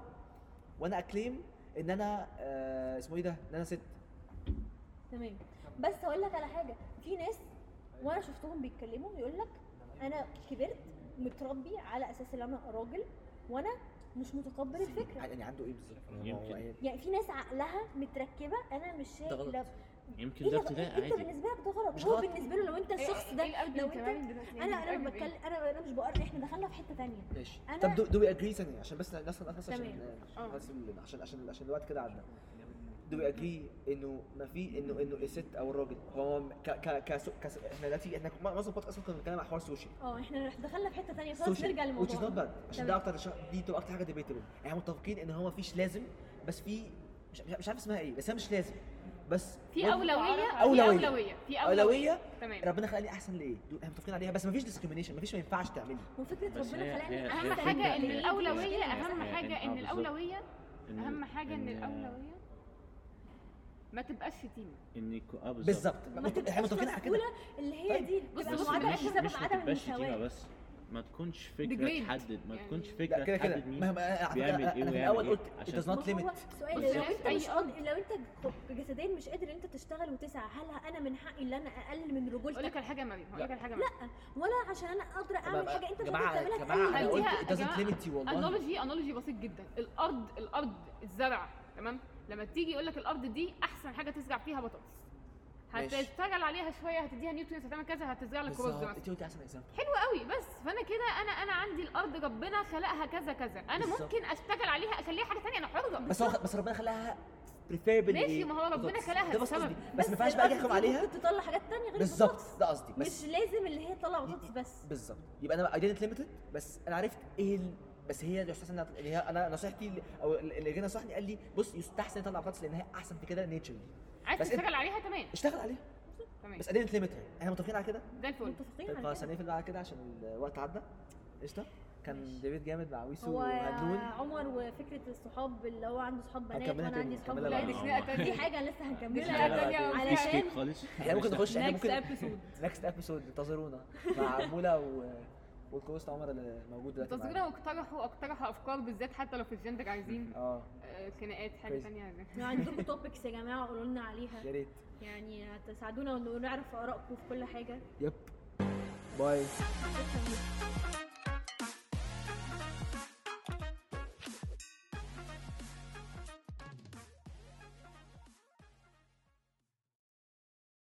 وانا اكليم ان انا آه، اسمه ايه ده ان انا ست تمام بس هقول لك على حاجه في ناس وانا شفتهم بيتكلموا يقول لك انا كبرت متربي على اساس ان انا راجل وانا مش متقبل الفكره يعني عنده ايه بالظبط هو- هو يمكن. إيه؟ يعني في ناس عقلها متركبه انا مش ده شايف غلط. لا يمكن ايه ده ده غلط؟ ابتداء انت عادي بالنسبه لك ده غلط مش هو غلط. بالنسبه له لو انت إيه- الشخص إيه ده الargument لو انت كمان دلوقتي؟ يعني انا انا الargument ما إيه؟ بتكلم انا انا مش بقر احنا دخلنا في حته ثانيه ماشي أنا- طب دو دو وي اجري ثانيه عشان بس الناس بس عشان تمام. آه. عشان بس ال- عشان عشان عشان الوقت كده عدى دو وي اجري انه ما في انه انه الست او الراجل هو م- ك ك ك ك احنا دلوقتي احنا معظم البودكاست اصلا كنا بنتكلم عن حوار سوشيال اه احنا دخلنا في حته ثانيه خلاص سوشيال نرجع which is not للموضوع bad عشان تمام. ده اكتر شا- دي تبقى اكتر حاجه ديبيتبل احنا متفقين ان هو ما فيش لازم بس في مش, مش عارف اسمها ايه بس هي مش لازم بس في اولويه في أولوية. اولويه في اولويه تمام ربنا خلقني احسن لايه دو- احنا متفقين عليها بس ما فيش ديسكريميشن ما فيش ما ينفعش تعملي وفكره بس هي- ربنا خلقني أحسن اهم هي- هي حاجه ان من فكرة- الاولويه مشكلة. اهم هي- حاجه آه، ان بالظبط. الاولويه إن- اهم حاجه ان آه، الاولويه ما تبقاش شتيمه ان يكون- آه، بالظبط بالظبط ما مت- تبقاش احنا متفقين على كده مسؤولة اللي هي طيب. دي بص، تبقى بص، معادلة مش بسبب مش ما عدم تبقاش شتيمه المساواة بس ما تكونش فكره Degrade. تحدد ما يعني- تكونش لا فكره كده كده تحدد مين مهما أنا- بيعمل أنا- إيه انا في ويعمل الاول إيه قلت it عشان- does not ما هو limit سؤال لو بالظبط. انت مش أي قادر لو انت خ- جسديا مش قادر انت تشتغل وتسعى هل انا من حقي ان انا اقلل من اقول لك رجولتك على حاجه يا مريم هقول لك على حاجه يا مريم ولا عشان انا قادرة اعمل حاجة انت مش قادر جماعه تعملها جماعه انا تقلل قلت من- أديها- it doesn't جماعة، limit you والله انولوجي انولوجي بسيط جدا الارض الارض الزرع تمام لما تيجي يقول لك الارض دي احسن حاجه تزرع فيها بطاطس ماشي. هتشتغل عليها شويه هتديها نيوترينز هتعمل كذا هتزرع لك رز بالظبط مثلا انت قلت احسن اكزامبل حلو قوي بس فانا كده انا انا عندي الارض ربنا خلقها كذا كذا انا بالظبط. ممكن اشتغل عليها اخليها حاجه ثانيه انا حره بس هو بس ربنا خلاها بريفيربل ماشي، ما هو ربنا خلقها ده بس بسبب. قصدي بس ما ينفعش بقى أجي احكم الأرض دي عليها ممكن تطلع حاجات تانية غير بالظبط البطاطس ده قصدي بس مش لازم اللي هي تطلع بطاطس بس بالظبط يبقى انا ايدنت ليميتد بس انا عرفت ايه ال... بس هي الاحساس اللي يعني هي انا نصيحتي ل- او اللي جه نصحني قال لي بص يستحسن يطلع بطاطس لان هي احسن في كده نيتشرلي عايز بس انت- تشتغل عليها تمام اشتغل عليها تمام بس ايدنت ليميتد احنا متفقين على كده ده الفل متفقين طيب على خلاص كده هنقفل بقى على كده عشان الوقت عدى قشطه كان ديفيد جامد مع ويسو هو وهنون عمر وفكرة الصحاب اللي هو عنده صحاب بنات هنكملها وانا تاني، عندي صحاب هنكملها ولاد دي لا دي خناقه تانية بعدين. حاجه لسه دي هنكملها خناقه لا، تانية علشان- مفيش كيك خالص احنا ممكن نخش احنا نكست ممكن ابيسود نكست ابيسود انتظرونا مع مولا و... والكوست عمر اللي موجود دلوقتي معانا. تذكرنا واقترحوا اقترحوا افكار بالذات حتى لو في الجندر عايزين اه آه، خناقات حاجه Crazy. تانية عايزين لو عندكم توبكس يا جماعه قولوا لنا عليها يا ريت يعني هتساعدونا ونعرف ارائكم في كل حاجه يب باي شكرا